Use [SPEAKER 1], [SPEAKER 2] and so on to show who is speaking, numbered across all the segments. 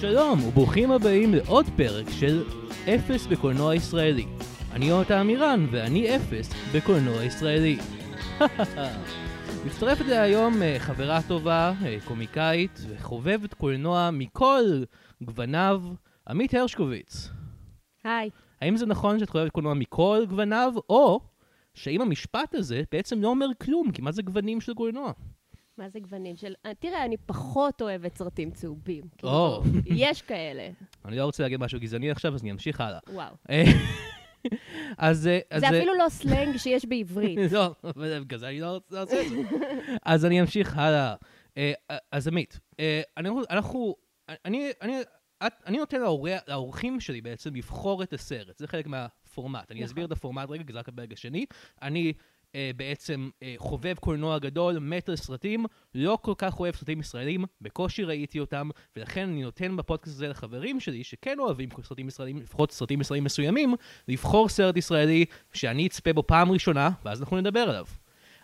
[SPEAKER 1] שלום, וברוכים הבאים לעוד פרק של אפס בקולנוע ישראלי. אני יונתן עמירן, ואני אפס בקולנוע ישראלי. מצטרפת אליי היום אה, חברה טובה, אה, קומיקאית וחובבת קולנוע מכל גווניו, עמית הרשקוביץ.
[SPEAKER 2] היי.
[SPEAKER 1] האם זה נכון שאת חובבת קולנוע מכל גווניו, או שאם המשפט הזה בעצם לא אומר כלום, כי מה זה גוונים של קולנוע?
[SPEAKER 2] מה זה גוונים של... אה, תראה, אני פחות אוהבת סרטים צהובים. כאילו,
[SPEAKER 1] או.
[SPEAKER 2] יש כאלה.
[SPEAKER 1] אני לא רוצה להגיד משהו גזעני עכשיו, אז אני אמשיך הלאה.
[SPEAKER 2] וואו.
[SPEAKER 1] אה, אז... אה, אז,
[SPEAKER 2] זה
[SPEAKER 1] אה,
[SPEAKER 2] אפילו לא סלנג שיש בעברית.
[SPEAKER 1] לא, אבל בגלל זה אני לא רוצה לעשות את זה. אז אני אמשיך הלאה. אה, אז עמית, אה, אנחנו- אנחנו... אני... אני... את, אני נותן לאורח- לאורחים שלי בעצם לבחור את הסרט, זה חלק מהפורמט. אני
[SPEAKER 2] נכון.
[SPEAKER 1] אסביר את הפורמט רגע, כי זה רק הפרק השני. אני אה, בעצם אה, חובב קולנוע גדול, מת על סרטים, לא כל כך אוהב סרטים ישראלים, בקושי ראיתי אותם, ולכן אני נותן בפודקאסט הזה לחברים שלי, שכן אוהבים סרטים ישראלים, לפחות סרטים ישראלים מסוימים, לבחור סרט ישראלי שאני אצפה בו פעם ראשונה, ואז אנחנו נדבר עליו.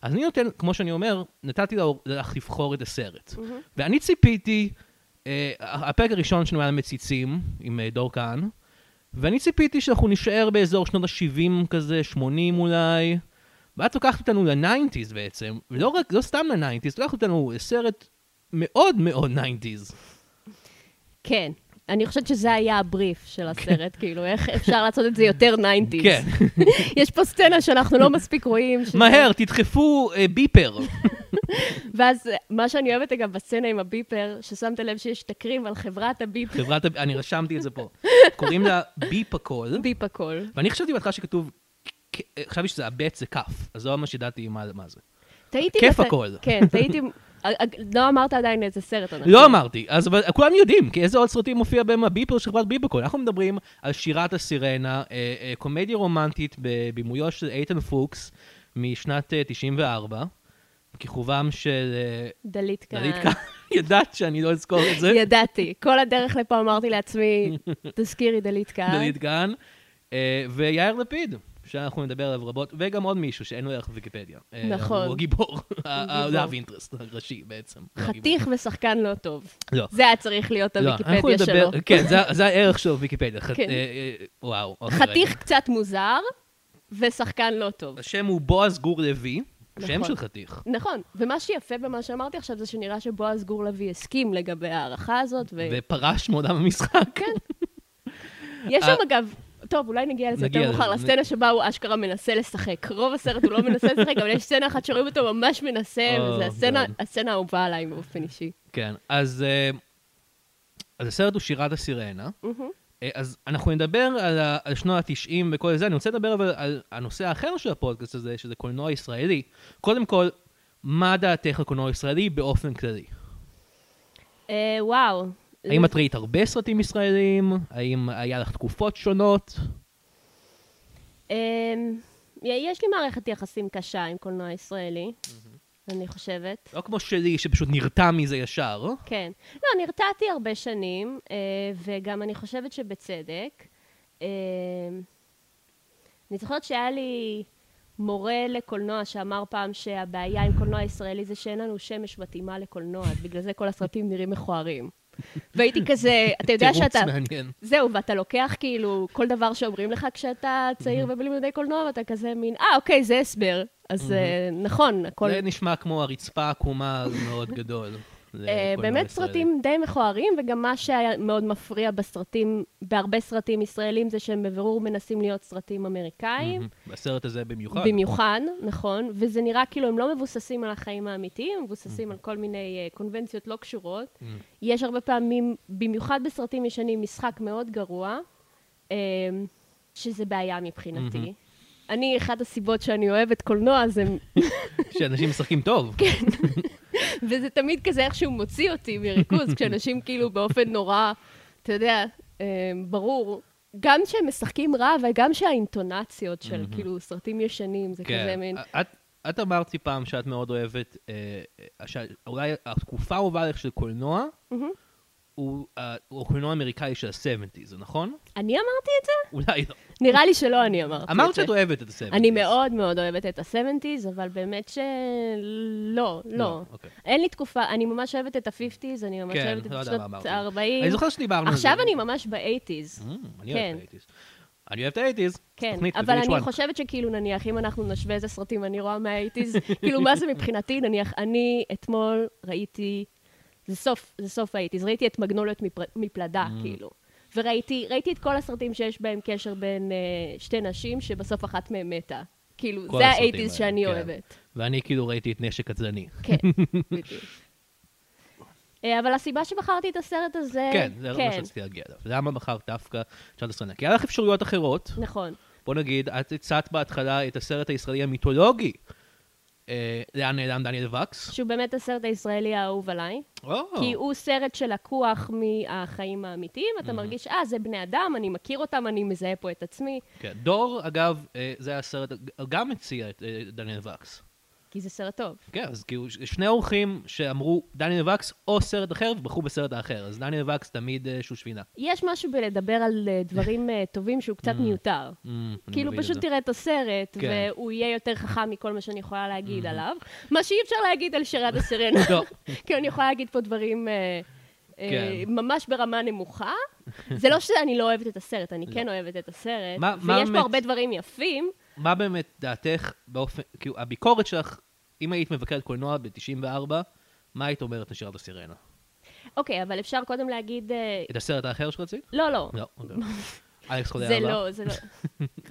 [SPEAKER 1] אז אני נותן, כמו שאני אומר, נתתי לאור- לך לבחור את הסרט. ואני ציפיתי, אה, הפרק הראשון שלנו היה על מציצים, עם אה, דור כהן, ואני ציפיתי שאנחנו נישאר באזור שנות ה-70 כזה, 80 אולי, ואת לוקחת אותנו לניינטיז בעצם, ולא רק, לא סתם לניינטיז, לוקחת אותנו לסרט מאוד מאוד ניינטיז.
[SPEAKER 2] כן. אני חושבת שזה היה הבריף של הסרט, כאילו, איך אפשר לעשות את זה יותר 90's.
[SPEAKER 1] כן.
[SPEAKER 2] יש פה סצנה שאנחנו לא מספיק רואים. שזה-
[SPEAKER 1] מהר, תדחפו אה, ביפר.
[SPEAKER 2] ואז אה, מה שאני אוהבת, אגב, בסצנה עם הביפר, ששמת לב שיש תקרים על חברת הביפ
[SPEAKER 1] חברת, הב- אני רשמתי את זה פה. קוראים לה ביפ הכל.
[SPEAKER 2] ביפ הכל.
[SPEAKER 1] ואני חשבתי בהתחלה שכתוב, כ- אה, חשבתי שזה הבט זה כף, אז לא ממש ידעתי מה מה זה.
[SPEAKER 2] תהיתי...
[SPEAKER 1] כיף
[SPEAKER 2] בת-
[SPEAKER 1] הכל.
[SPEAKER 2] כן, תהיתי... אה, אה, לא אמרת עדיין איזה סרט אנחנו.
[SPEAKER 1] לא אמרתי, אז אבל כולם יודעים, כי איזה עוד סרטים מופיע בהם הביפר של חברת ביפרקול. אנחנו מדברים על שירת הסירנה, אה, אה, קומדיה רומנטית בבימויו של איתן פוקס משנת אה, 94, כיכובם של... אה,
[SPEAKER 2] דלית כאן.
[SPEAKER 1] דלית כהן, ידעת שאני לא אזכור את זה,
[SPEAKER 2] ידעתי. כל הדרך לפה אמרתי לעצמי, תזכירי דלית כהן.
[SPEAKER 1] דלית כהן, אה, ויאיר לפיד, שאנחנו נדבר עליו רבות, וגם עוד מישהו שאין לו ערך בוויקיפדיה. אה,
[SPEAKER 2] נכון.
[SPEAKER 1] הוא הגיבור, אה, ה-love
[SPEAKER 2] גיבור.
[SPEAKER 1] לא interest הראשי בעצם. הוא הגיבור.
[SPEAKER 2] חתיך ושחקן לא טוב.
[SPEAKER 1] לא.
[SPEAKER 2] זה היה צריך להיות
[SPEAKER 1] לא, אנחנו
[SPEAKER 2] הוויקיפדיה
[SPEAKER 1] נדבר-
[SPEAKER 2] שלו.
[SPEAKER 1] כן, זה- זה הערך של ויקיפדיה.
[SPEAKER 2] כן.
[SPEAKER 1] וואו. אוקיי,
[SPEAKER 2] חתיך
[SPEAKER 1] רגע. אה,
[SPEAKER 2] קצת מוזר, ושחקן לא טוב.
[SPEAKER 1] השם הוא בועז גור לוי, שם
[SPEAKER 2] נכון.
[SPEAKER 1] של חתיך.
[SPEAKER 2] נכון, ומה שיפה במה שאמרתי עכשיו זה שנראה שבועז גור לוי הסכים לגבי ההערכה הזאת, ויש
[SPEAKER 1] ופרש מעולם המשחק.
[SPEAKER 2] כן. שם אגב, טוב, אולי נגיע לזה
[SPEAKER 1] אה, נגיע
[SPEAKER 2] יותר מאוחר,
[SPEAKER 1] לזה.
[SPEAKER 2] לסצנה שבה הוא אשכרה מנסה לשחק. רוב הסרט הוא לא מנסה לשחק, אבל יש סצנה אחת שרואים אותו ממש מנסה,
[SPEAKER 1] או,
[SPEAKER 2] וזו הסצנה-
[SPEAKER 1] God.
[SPEAKER 2] הסצנה האהובה עליי באופן אישי.
[SPEAKER 1] כן, אז אה, אז הסרט הוא שירת הסירנה. אה, אז אנחנו נדבר על ה- על שנות ה-90 וכל זה, אני רוצה לדבר אבל על הנושא האחר של הפודקאסט הזה, שזה קולנוע ישראלי. קודם כל, מה דעתך על קולנוע ישראלי באופן כללי?
[SPEAKER 2] אה, וואו.
[SPEAKER 1] האם את ראית הרבה סרטים ישראלים? האם היה לך תקופות שונות?
[SPEAKER 2] אמ, יש לי מערכת יחסים קשה עם קולנוע ישראלי, אני חושבת.
[SPEAKER 1] לא כמו שלי, שפשוט נרתע מזה ישר.
[SPEAKER 2] כן. לא, נרתעתי הרבה שנים, אה, וגם אני חושבת שבצדק. אה, אני זוכרת שהיה לי מורה לקולנוע שאמר פעם שהבעיה עם קולנוע ישראלי זה שאין לנו שמש מתאימה לקולנוע, אז בגלל זה כל הסרטים נראים מכוערים. והייתי כזה, אתה יודע שאתה...
[SPEAKER 1] תירוץ מעניין.
[SPEAKER 2] זהו, ואתה לוקח כאילו כל דבר שאומרים לך כשאתה צעיר ובלי לימודי קולנוע, ואתה כזה מין, אה, אוקיי, זה הסבר. אז אה, נכון, הכל...
[SPEAKER 1] זה נשמע כמו הרצפה העקומה מאוד גדול.
[SPEAKER 2] אה,
[SPEAKER 1] לקולנוע
[SPEAKER 2] באמת
[SPEAKER 1] ישראלי.
[SPEAKER 2] סרטים די מכוערים, וגם מה שהיה מאוד מפריע בסרטים, בהרבה סרטים ישראלים, זה שהם בבירור מנסים להיות סרטים אמריקאים.
[SPEAKER 1] Mhm. בסרט הזה במיוחד.
[SPEAKER 2] במיוחד, נכון, וזה נראה כאילו הם לא מבוססים על החיים האמיתיים, הם מבוססים על כל מיני אה, קונבנציות לא קשורות. יש הרבה פעמים, במיוחד בסרטים ישנים, משחק מאוד גרוע, אה, שזה בעיה מבחינתי. אני, אחת הסיבות שאני אוהבת קולנוע, זה,
[SPEAKER 1] שאנשים משחקים טוב. כן.
[SPEAKER 2] וזה תמיד כזה איכשהו מוציא אותי מריכוז, כשאנשים כאילו באופן נורא, אתה יודע, אה, ברור. גם שהם משחקים רע, וגם שהאינטונציות של כאילו סרטים ישנים, זה
[SPEAKER 1] כן.
[SPEAKER 2] כזה מין...
[SPEAKER 1] אה. את- את אמרת לי פעם שאת מאוד אוהבת, אה, אה, שאולי התקופה האהובה לך של קולנוע, הוא אה, הוא הקולנוע האמריקאי של ה-70's, נכון?
[SPEAKER 2] אני אמרתי את זה?
[SPEAKER 1] אולי לא.
[SPEAKER 2] נראה לי שלא אני אמרתי את אוקיי, זה.
[SPEAKER 1] אמרת שאת אוהבת את ה-70's.
[SPEAKER 2] אני מאוד מאוד אוהבת את ה-70's, אבל באמת שלא, לא.
[SPEAKER 1] אוקיי.
[SPEAKER 2] אין לי תקופה, אני ממש אוהבת את ה-50's, אני ממש
[SPEAKER 1] כן,
[SPEAKER 2] אוהבת את
[SPEAKER 1] לא יודע מה
[SPEAKER 2] שנות
[SPEAKER 1] אמרתי.
[SPEAKER 2] ה-40.
[SPEAKER 1] אני זוכר שדיברנו על זה.
[SPEAKER 2] עכשיו אני ממש ב-80's.
[SPEAKER 1] Mm, אני אוהב
[SPEAKER 2] כן.
[SPEAKER 1] את האייטיז. אני אוהב את האייטיז.
[SPEAKER 2] כן,
[SPEAKER 1] תוכנית
[SPEAKER 2] אבל
[SPEAKER 1] ב-VH1.
[SPEAKER 2] אני חושבת שכאילו, נניח, אם אנחנו נשווה איזה סרטים אני רואה מהאייטיז, כאילו, מה זה מבחינתי? נניח, אני אתמול ראיתי, זה סוף, זה סוף האייטיז, ראיתי את מגנוליות מפר- מפלדה,
[SPEAKER 1] Mm.
[SPEAKER 2] כאילו. וראיתי ראיתי את כל הסרטים שיש בהם קשר בין אה, שתי נשים, שבסוף אחת מהן מתה. כאילו,
[SPEAKER 1] כל
[SPEAKER 2] זה
[SPEAKER 1] הסרטים
[SPEAKER 2] האייטיז
[SPEAKER 1] האלה,
[SPEAKER 2] שאני
[SPEAKER 1] כן.
[SPEAKER 2] אוהבת.
[SPEAKER 1] ואני כאילו ראיתי את נשק עצלני.
[SPEAKER 2] כן, בדיוק. אה, אבל הסיבה שבחרתי את הסרט הזה...
[SPEAKER 1] כן, זה מה שרציתי להגיע אליו. למה בחרת דווקא שעת הסרנה? כי היה לך אפשרויות אחרות.
[SPEAKER 2] נכון.
[SPEAKER 1] בוא נגיד, את הצעת בהתחלה את הסרט הישראלי המיתולוגי. אה, לאן נעלם דניאל וקס?
[SPEAKER 2] שהוא באמת הסרט הישראלי האהוב עליי.
[SPEAKER 1] או,
[SPEAKER 2] כי הוא סרט שלקוח מהחיים האמיתיים, אתה מרגיש, אה, זה בני אדם, אני מכיר אותם, אני מזהה פה את עצמי,
[SPEAKER 1] כן. דור, אגב, אה, זה היה סרט, גם הציע את אה, דניאל וקס.
[SPEAKER 2] כי זה סרט טוב.
[SPEAKER 1] כן, אז כאילו, ש- שני אורחים שאמרו דניאל וקס או סרט אחר, ובחרו בסרט האחר. אז דניאל וקס תמיד אה, שושבינה.
[SPEAKER 2] יש משהו בלדבר על אה, דברים אה, טובים שהוא קצת מיותר.
[SPEAKER 1] Mm, אני
[SPEAKER 2] כאילו,
[SPEAKER 1] מבין את
[SPEAKER 2] פשוט
[SPEAKER 1] זה.
[SPEAKER 2] תראה את הסרט,
[SPEAKER 1] כן.
[SPEAKER 2] והוא יהיה יותר חכם מכל מה שאני יכולה להגיד עליו. מה שאי אפשר להגיד על שרדה סרנה.
[SPEAKER 1] לא.
[SPEAKER 2] כי אני יכולה להגיד פה דברים אה, אה,
[SPEAKER 1] כן.
[SPEAKER 2] ממש ברמה נמוכה. זה לא שאני לא אוהבת את הסרט, אני כן אוהבת את הסרט,
[SPEAKER 1] מה- מה
[SPEAKER 2] ויש פה
[SPEAKER 1] באמת-
[SPEAKER 2] הרבה דברים יפים.
[SPEAKER 1] מה באמת דעתך באופן, כאילו, הביקורת שלך, אם היית מבקרת קולנוע ב-94, מה היית אומרת לשירת הסירנה?
[SPEAKER 2] אוקיי, אבל אפשר קודם להגיד... אה,
[SPEAKER 1] את הסרט האחר שרצית?
[SPEAKER 2] לא, לא.
[SPEAKER 1] לא. אוקיי. אלכס חולי
[SPEAKER 2] זה
[SPEAKER 1] אהבה.
[SPEAKER 2] לא, זה לא.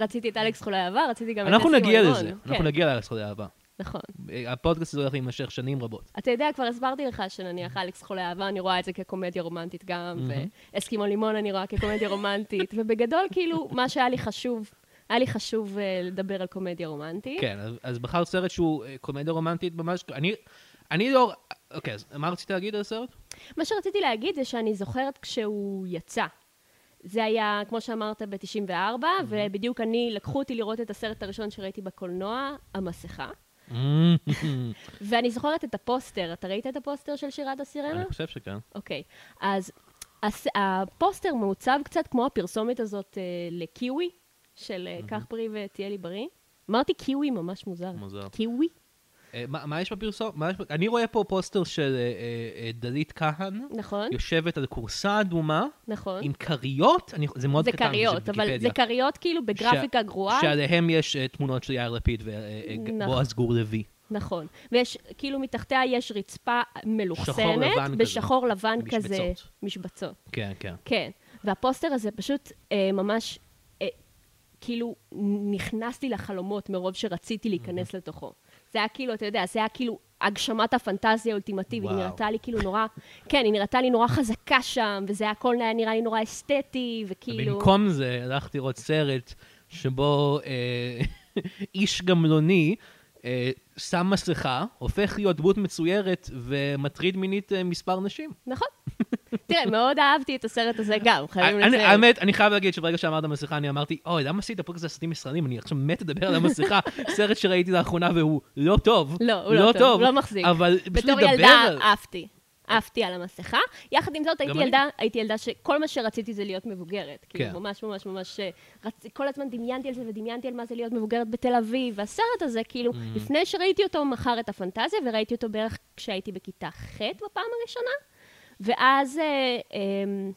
[SPEAKER 2] רציתי את אלכס חולי אהבה, רציתי גם את
[SPEAKER 1] אנחנו
[SPEAKER 2] אסי
[SPEAKER 1] נגיע
[SPEAKER 2] מימון.
[SPEAKER 1] לזה, אנחנו
[SPEAKER 2] כן,
[SPEAKER 1] נגיע לאלכס חולי אהבה.
[SPEAKER 2] נכון.
[SPEAKER 1] הפודקאסט הזה הולך להימשך שנים רבות.
[SPEAKER 2] אתה יודע, כבר הסברתי לך שנניח אלכס חולי אהבה, אני רואה את זה כקומדיה רומנטית גם, ואסקימו לימון אני רואה כקומדיה רומנטית, ובגדול, כאילו, מה שהיה לי חשוב, היה לי חשוב אה, לדבר על קומדיה רומנטית.
[SPEAKER 1] כן, אז- אז בחרת סרט שהוא אה, קומדיה רומנטית ממש, אני, אני לא, אוקיי, אז מה רצית להגיד על הסרט?
[SPEAKER 2] מה שרציתי להגיד זה שאני זוכרת כשהוא יצא. זה היה, כמו שאמרת, ב-94, ובדיוק אני, לקחו אותי לראות את הסרט הראשון שראיתי בקולנוע, המסכה. ואני זוכרת את הפוסטר, אתה ראית את הפוסטר של שירת הסירנה?
[SPEAKER 1] אני חושב שכן.
[SPEAKER 2] אוקיי, אז הס- הפוסטר מעוצב קצת כמו הפרסומת הזאת אה, לקיווי, של אה, קח פרי ותהיה לי בריא. אמרתי קיווי ממש מוזר.
[SPEAKER 1] מוזר.
[SPEAKER 2] קיווי?
[SPEAKER 1] אה, מה מה יש בפרסום? מה יש ב- אני רואה פה פוסטר של אה, אה, אה, דלית כהן,
[SPEAKER 2] נכון,
[SPEAKER 1] יושבת על כורסה אדומה,
[SPEAKER 2] נכון.
[SPEAKER 1] עם כריות, אני, זה מאוד
[SPEAKER 2] זה
[SPEAKER 1] קטן,
[SPEAKER 2] כריות, אבל זה
[SPEAKER 1] בוויקיפדיה.
[SPEAKER 2] כריות כאילו בגרפיקה
[SPEAKER 1] שה-
[SPEAKER 2] גרועה.
[SPEAKER 1] שעליהם יש אה, תמונות של יאיר לפיד ובועז
[SPEAKER 2] נכון.
[SPEAKER 1] בועז גור לוי.
[SPEAKER 2] נכון. ויש, כאילו מתחתיה יש רצפה מלוכסנת,
[SPEAKER 1] לבן כזה.
[SPEAKER 2] בשחור לבן כזה.
[SPEAKER 1] משבצות.
[SPEAKER 2] משבצות.
[SPEAKER 1] כן, כן.
[SPEAKER 2] כן, והפוסטר הזה פשוט אה, ממש, אה, כאילו, נכנסתי לחלומות מרוב שרציתי להיכנס לתוכו. זה היה כאילו, אתה יודע, זה היה כאילו הגשמת הפנטזיה האולטימטיבית, היא
[SPEAKER 1] וואו.
[SPEAKER 2] נראתה לי כאילו נורא, כן, היא נראתה לי נורא חזקה שם, וזה הכל היה נראה לי נורא אסתטי, וכאילו...
[SPEAKER 1] במקום זה הלכתי לראות סרט שבו אה, איש גמלוני אה, שם מסכה, הופך להיות דמות מצוירת ומטריד מינית אה, מספר נשים.
[SPEAKER 2] נכון. תראה, מאוד אהבתי את הסרט הזה גם, חייבים
[SPEAKER 1] אה, אני-
[SPEAKER 2] לציין.
[SPEAKER 1] האמת, אני חייב להגיד שברגע שאמרת מסכה, אני אמרתי, אוי, למה עשית פרק הזה סרטים ישראלים? אני עכשיו מת לדבר על המסכה. סרט שראיתי לאחרונה והוא לא טוב.
[SPEAKER 2] לא, הוא לא טוב, הוא לא מחזיק.
[SPEAKER 1] אבל פשוט
[SPEAKER 2] בתור
[SPEAKER 1] לדבר
[SPEAKER 2] ילדה
[SPEAKER 1] על...
[SPEAKER 2] עפתי. עפתי על המסכה. יחד עם זאת, הייתי
[SPEAKER 1] אני.
[SPEAKER 2] ילדה, הייתי ילדה שכל מה שרציתי זה להיות מבוגרת.
[SPEAKER 1] כן.
[SPEAKER 2] כאילו, ממש ממש ממש... אה, רצ... כל הזמן דמיינתי על זה ודמיינתי על מה זה להיות מבוגרת בתל אביב. והסרט הזה, כאילו, לפני שראיתי אותו, מכר את הפנטזיה, וראיתי אותו בערך כשהייתי בכיתה ח' בפעם הראשונה. ואז אה, אמ,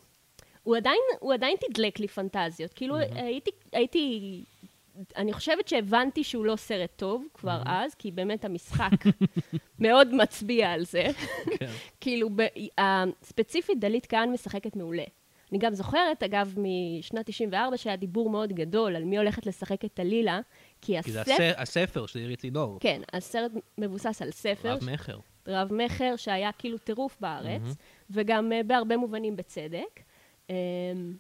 [SPEAKER 2] הוא עדיין, הוא עדיין תדלק לי פנטזיות. כאילו, הייתי, הייתי, אני חושבת שהבנתי שהוא לא סרט טוב כבר אז, כי באמת המשחק מאוד מצביע על זה.
[SPEAKER 1] כן.
[SPEAKER 2] כאילו, ב, אה, ספציפית דלית כהן משחקת מעולה. אני גם זוכרת, אגב, משנת 94, שהיה דיבור מאוד גדול על מי הולכת לשחק את טלילה, כי
[SPEAKER 1] כי זה
[SPEAKER 2] הספר...
[SPEAKER 1] הסר- הספר של עירית לינור.
[SPEAKER 2] כן, הסרט מבוסס על ספר,
[SPEAKER 1] רב מכר.
[SPEAKER 2] רב מכר, שהיה כאילו טירוף בארץ, וגם אה, בהרבה מובנים בצדק. אה,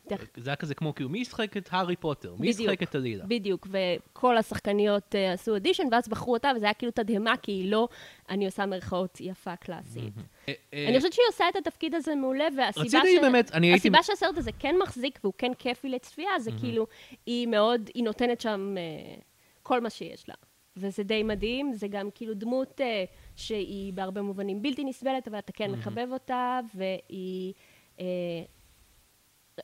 [SPEAKER 2] תכף-
[SPEAKER 1] זה היה כזה כמו, כאילו, מי ישחק את הארי פוטר? מי ישחק את עלילה?
[SPEAKER 2] בדיוק, וכל השחקניות אה, עשו אודישן, ואז בחרו אותה, וזה היה כאילו תדהמה, כי היא לא, אני עושה מירכאות יפה קלאסית.
[SPEAKER 1] אה, אה,
[SPEAKER 2] אני חושבת שהיא עושה את התפקיד הזה מעולה, והסיבה
[SPEAKER 1] רציתי באמת, אני הייתי-
[SPEAKER 2] הסיבה שהסרט הזה כן מחזיק והוא כן כיפי לצפייה, זה כאילו, היא מאוד, היא נותנת שם אה, כל מה שיש לה. וזה די מדהים, זה גם כאילו דמות אה, שהיא בהרבה מובנים בלתי נסבלת, אבל אתה כן מחבב אותה, והיא אה,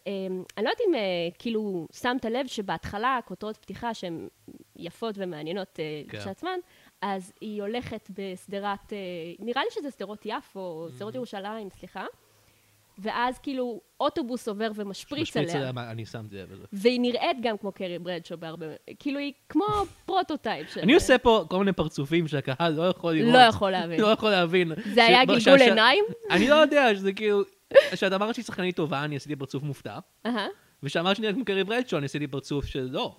[SPEAKER 2] אה, אני לא יודעת אם אה, כאילו שמת לב שבהתחלה כותרות פתיחה שהן יפות ומעניינות אה,
[SPEAKER 1] כן.
[SPEAKER 2] כשלעצמן, אז היא הולכת בשדרת, אה, נראה לי שזה שדרות יפו,
[SPEAKER 1] Mm-hmm.
[SPEAKER 2] או שדרות ירושלים, סליחה, ואז כאילו אוטובוס עובר ומשפריץ
[SPEAKER 1] משפריץ
[SPEAKER 2] עליה.
[SPEAKER 1] מה- אני שמתי לב לזה.
[SPEAKER 2] והיא נראית גם כמו קרי ברדשו בהרבה... כאילו, היא כמו פרוטוטייפ של...
[SPEAKER 1] אני עושה פה כל מיני פרצופים שהקהל לא יכול לראות.
[SPEAKER 2] לא יכול להבין.
[SPEAKER 1] לא יכול להבין.
[SPEAKER 2] זה היה
[SPEAKER 1] ש-
[SPEAKER 2] גלגול
[SPEAKER 1] שה- שה-
[SPEAKER 2] עיניים?
[SPEAKER 1] אני לא יודע, שזה כאילו... כשאת אמרת שהיא שחקנית טובה, אני עשיתי פרצוף מופתע.
[SPEAKER 2] אהה.
[SPEAKER 1] וכשאמרת שאני כמו קרי ברדשו, אני עשיתי פרצוף של לא.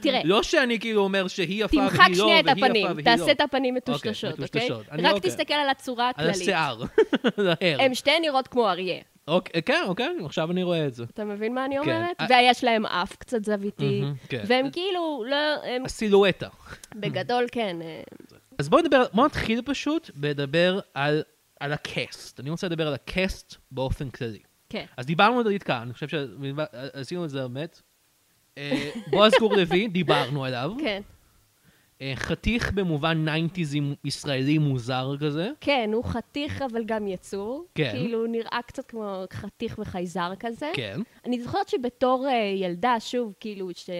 [SPEAKER 2] תראה,
[SPEAKER 1] לא שאני כאילו אומר שהיא יפה והיא לא,
[SPEAKER 2] כן. תמחק
[SPEAKER 1] והיא
[SPEAKER 2] שנייה את
[SPEAKER 1] יפה והיא
[SPEAKER 2] הפנים,
[SPEAKER 1] לא.
[SPEAKER 2] תעשה את הפנים מטושטשות, אוקיי?
[SPEAKER 1] מטושטשות. אני
[SPEAKER 2] רק
[SPEAKER 1] אוקיי.
[SPEAKER 2] תסתכל על הצורה
[SPEAKER 1] על
[SPEAKER 2] הכללית.
[SPEAKER 1] השיער, על ההר.
[SPEAKER 2] הן שתיהן נראות כמו אריה.
[SPEAKER 1] אוקיי, כן, אוקיי, עכשיו אני רואה את זה.
[SPEAKER 2] אתה מבין מה אני אומרת?
[SPEAKER 1] אה.
[SPEAKER 2] ויש להם אף קצת זוויתי.
[SPEAKER 1] מהמם, כן.
[SPEAKER 2] והם כאילו, לא, הם
[SPEAKER 1] הסילואטה.
[SPEAKER 2] בגדול כן. אה,
[SPEAKER 1] אז בואו נדבר, בואו נתחיל פשוט בלדבר על, על הקאסט. אני רוצה לדבר על הקאסט באופן כללי.
[SPEAKER 2] כן.
[SPEAKER 1] אז דיברנו על דלית כהן, אני חושב שעשינו את זה באמת. אה, בועז גור לוי, דיברנו עליו.
[SPEAKER 2] כן.
[SPEAKER 1] אה, חתיך במובן ניינטיזי ישראלי מוזר כזה.
[SPEAKER 2] כן, הוא חתיך אבל גם יצור.
[SPEAKER 1] כן.
[SPEAKER 2] כאילו, נראה קצת כמו חתיך וחייזר כזה.
[SPEAKER 1] כן.
[SPEAKER 2] אני זוכרת שבתור אה, ילדה, שוב, כאילו, ש...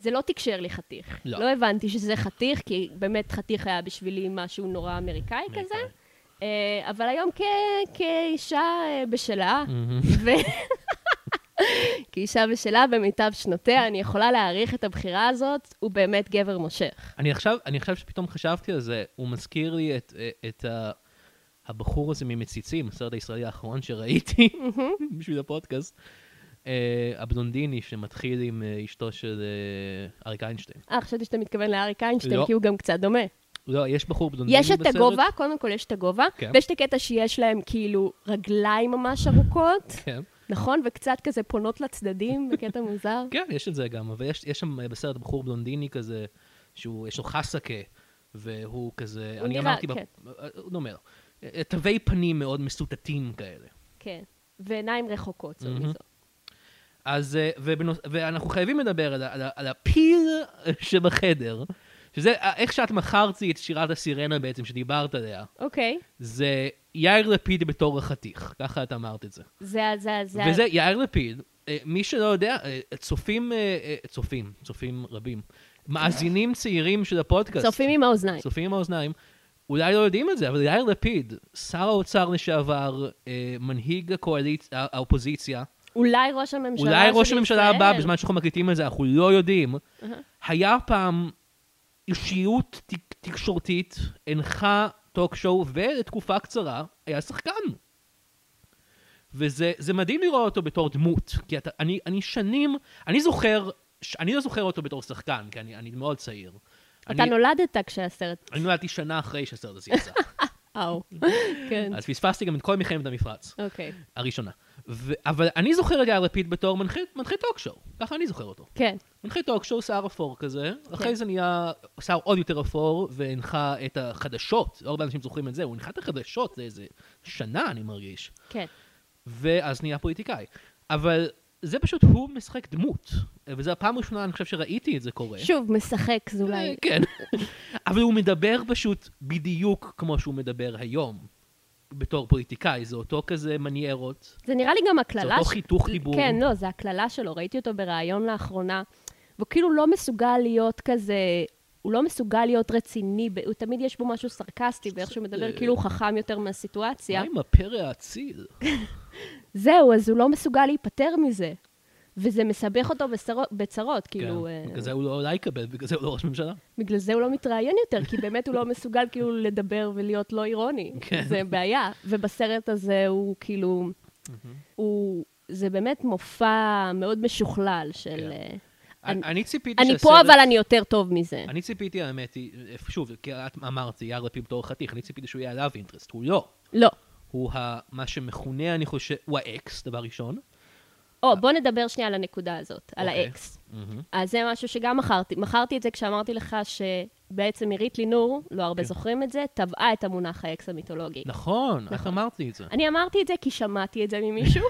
[SPEAKER 2] זה לא תקשר לי חתיך.
[SPEAKER 1] לא.
[SPEAKER 2] לא הבנתי שזה חתיך, כי באמת חתיך היה בשבילי משהו נורא אמריקאי
[SPEAKER 1] אמריקאי.
[SPEAKER 2] כזה. אה, אבל היום כ... כאישה אה, בשלה, ו... כאישה בשלה במיטב שנותיה, אני יכולה להעריך את הבחירה הזאת, הוא באמת גבר מושך.
[SPEAKER 1] אני עכשיו, אני עכשיו שפתאום חשבתי על זה, הוא מזכיר לי את, את ה, הבחור הזה ממציצים, הסרט הישראלי האחרון שראיתי בשביל הפודקאסט. Uh, הבלונדיני שמתחיל עם אה, אשתו של אה, אריק איינשטיין.
[SPEAKER 2] אה, חשבתי שאתה מתכוון לאריק איינשטיין,
[SPEAKER 1] לא.
[SPEAKER 2] כי הוא גם קצת דומה.
[SPEAKER 1] לא, יש בחור בלונדיני
[SPEAKER 2] יש את
[SPEAKER 1] בסרט?
[SPEAKER 2] הגובה, קודם כל יש את הגובה,
[SPEAKER 1] כן.
[SPEAKER 2] ויש את הקטע שיש להם כאילו רגליים ממש ארוכות.
[SPEAKER 1] כן.
[SPEAKER 2] נכון? וקצת כזה פונות לצדדים בקטע מוזר.
[SPEAKER 1] כן, יש את זה גם, אבל יש, יש שם אה, בסרט בחור בלונדיני כזה, שהוא, יש לו חסקה, והוא כזה,
[SPEAKER 2] הוא
[SPEAKER 1] אני
[SPEAKER 2] נראה,
[SPEAKER 1] אמרתי,
[SPEAKER 2] כן.
[SPEAKER 1] ב, אה, הוא דומה לו, אה, תווי פנים מאוד מסוטטים כאלה.
[SPEAKER 2] כן. ועיניים רחוקות זו מזו.
[SPEAKER 1] אז, אה, ובנוס... ואנחנו חייבים לדבר על, ה- על, ה- על הפיל שבחדר, שזה אה, איך שאת מכרת לי את שירת הסירנה בעצם, שדיברת עליה,
[SPEAKER 2] אוקיי.
[SPEAKER 1] זה יאיר לפיד בתור החתיך, ככה את אמרת את זה.
[SPEAKER 2] זה, ה- זה, ה- זה. ה-
[SPEAKER 1] וזה יאיר לפיד, אה, מי שלא יודע, אה, צופים, אה, אה, צופים, צופים רבים, מאזינים צעירים של הפודקאסט,
[SPEAKER 2] צופים עם האוזניים.
[SPEAKER 1] צופים עם האוזניים, אולי לא יודעים את זה, אבל יאיר לפיד, שר האוצר לשעבר, אה, מנהיג הקואליצ... הא- האופוזיציה,
[SPEAKER 2] אולי ראש הממשלה
[SPEAKER 1] אולי ראש
[SPEAKER 2] של
[SPEAKER 1] הממשלה הבא,
[SPEAKER 2] ישראל.
[SPEAKER 1] בזמן שאנחנו מקליטים את זה, אנחנו לא יודעים, היה פעם אישיות ת- תקשורתית, הנחה טוק שואו, ולתקופה קצרה היה שחקן. וזה זה מדהים לראות אותו בתור דמות, כי אתה, אני, אני שנים, אני זוכר, ש- אני לא זוכר אותו בתור שחקן, כי אני, אני מאוד צעיר.
[SPEAKER 2] אתה לא-
[SPEAKER 1] אני,
[SPEAKER 2] נולדת כשהסרט...
[SPEAKER 1] אני נולדתי שנה אחרי שהסרט הזה יצא,
[SPEAKER 2] אאו. כן.
[SPEAKER 1] אז פספסתי גם את כל מלחמת המפרץ.
[SPEAKER 2] אוקיי.
[SPEAKER 1] הראשונה. ו- אבל אני זוכר את יאיר לפיד בתור מנחה- מנחה טוקשואו, ככה אני זוכר אותו.
[SPEAKER 2] כן.
[SPEAKER 1] מנחה טוקשואו, שיער אפור כזה, אחרי זה נהיה שיער עוד יותר אפור, והנחה את החדשות, לא הרבה אנשים זוכרים את זה, הוא הנחה את החדשות לאיזה שנה, אני מרגיש,
[SPEAKER 2] כן.
[SPEAKER 1] ואז נהיה פוליטיקאי. אבל זה פשוט, הוא משחק דמות, וזו הפעם הראשונה, אני חושב, שראיתי את זה קורה.
[SPEAKER 2] שוב, משחק זה
[SPEAKER 1] אה,
[SPEAKER 2] אולי...
[SPEAKER 1] כן. אבל הוא מדבר פשוט בדיוק כמו שהוא מדבר היום, בתור פוליטיקאי, זה אותו כזה מניירות.
[SPEAKER 2] זה נראה לי גם הקללה...
[SPEAKER 1] זה אותו חיתוך דיבור.
[SPEAKER 2] כן, לא, זה הקללה שלו. ראיתי אותו בריאיון לאחרונה, והוא כאילו לא מסוגל להיות כזה... הוא לא מסוגל להיות רציני, ב- הוא תמיד יש בו משהו סרקסטי, ואיך שהוא
[SPEAKER 1] אה,
[SPEAKER 2] מדבר, כאילו הוא חכם יותר מהסיטואציה.
[SPEAKER 1] מה עם הפרא האציל?
[SPEAKER 2] זהו, אז הוא לא מסוגל להיפטר מזה. וזה מסבך אותו בצרות, בצרות כאילו, אה,
[SPEAKER 1] כן, בגלל זה הוא לא אולי יקבל, בגלל זה הוא לא ראש ממשלה.
[SPEAKER 2] בגלל זה הוא לא מתראיין יותר, כי באמת הוא לא מסוגל כאילו לדבר ולהיות לא אירוני.
[SPEAKER 1] כן.
[SPEAKER 2] זה בעיה. ובסרט הזה הוא כאילו, הוא, זה באמת מופע מאוד משוכלל של...
[SPEAKER 1] כן.
[SPEAKER 2] אה,
[SPEAKER 1] אני אני ציפיתי
[SPEAKER 2] אני פה, אבל אני יותר טוב מזה.
[SPEAKER 1] אני ציפיתי, האמת היא, שוב, כי את אמרת, יאיר לפיד בתור חתיך, אני ציפיתי שהוא יהיה עליו אינטרסט, הוא לא.
[SPEAKER 2] לא.
[SPEAKER 1] הוא ה- מה שמכונה, אני חושב, הוא האקס, דבר ראשון.
[SPEAKER 2] או, בוא נדבר שנייה על הנקודה הזאת, על
[SPEAKER 1] אוקיי.
[SPEAKER 2] האקס. אז זה משהו שגם מכרתי. מכרתי את זה כשאמרתי לך שבעצם עירית לינור, לא הרבה זוכרים את זה, טבעה את המונח האקס המיתולוגי.
[SPEAKER 1] כן. נכון, את אמרת לי את זה.
[SPEAKER 2] אני אמרתי את זה כי שמעתי את זה ממישהו.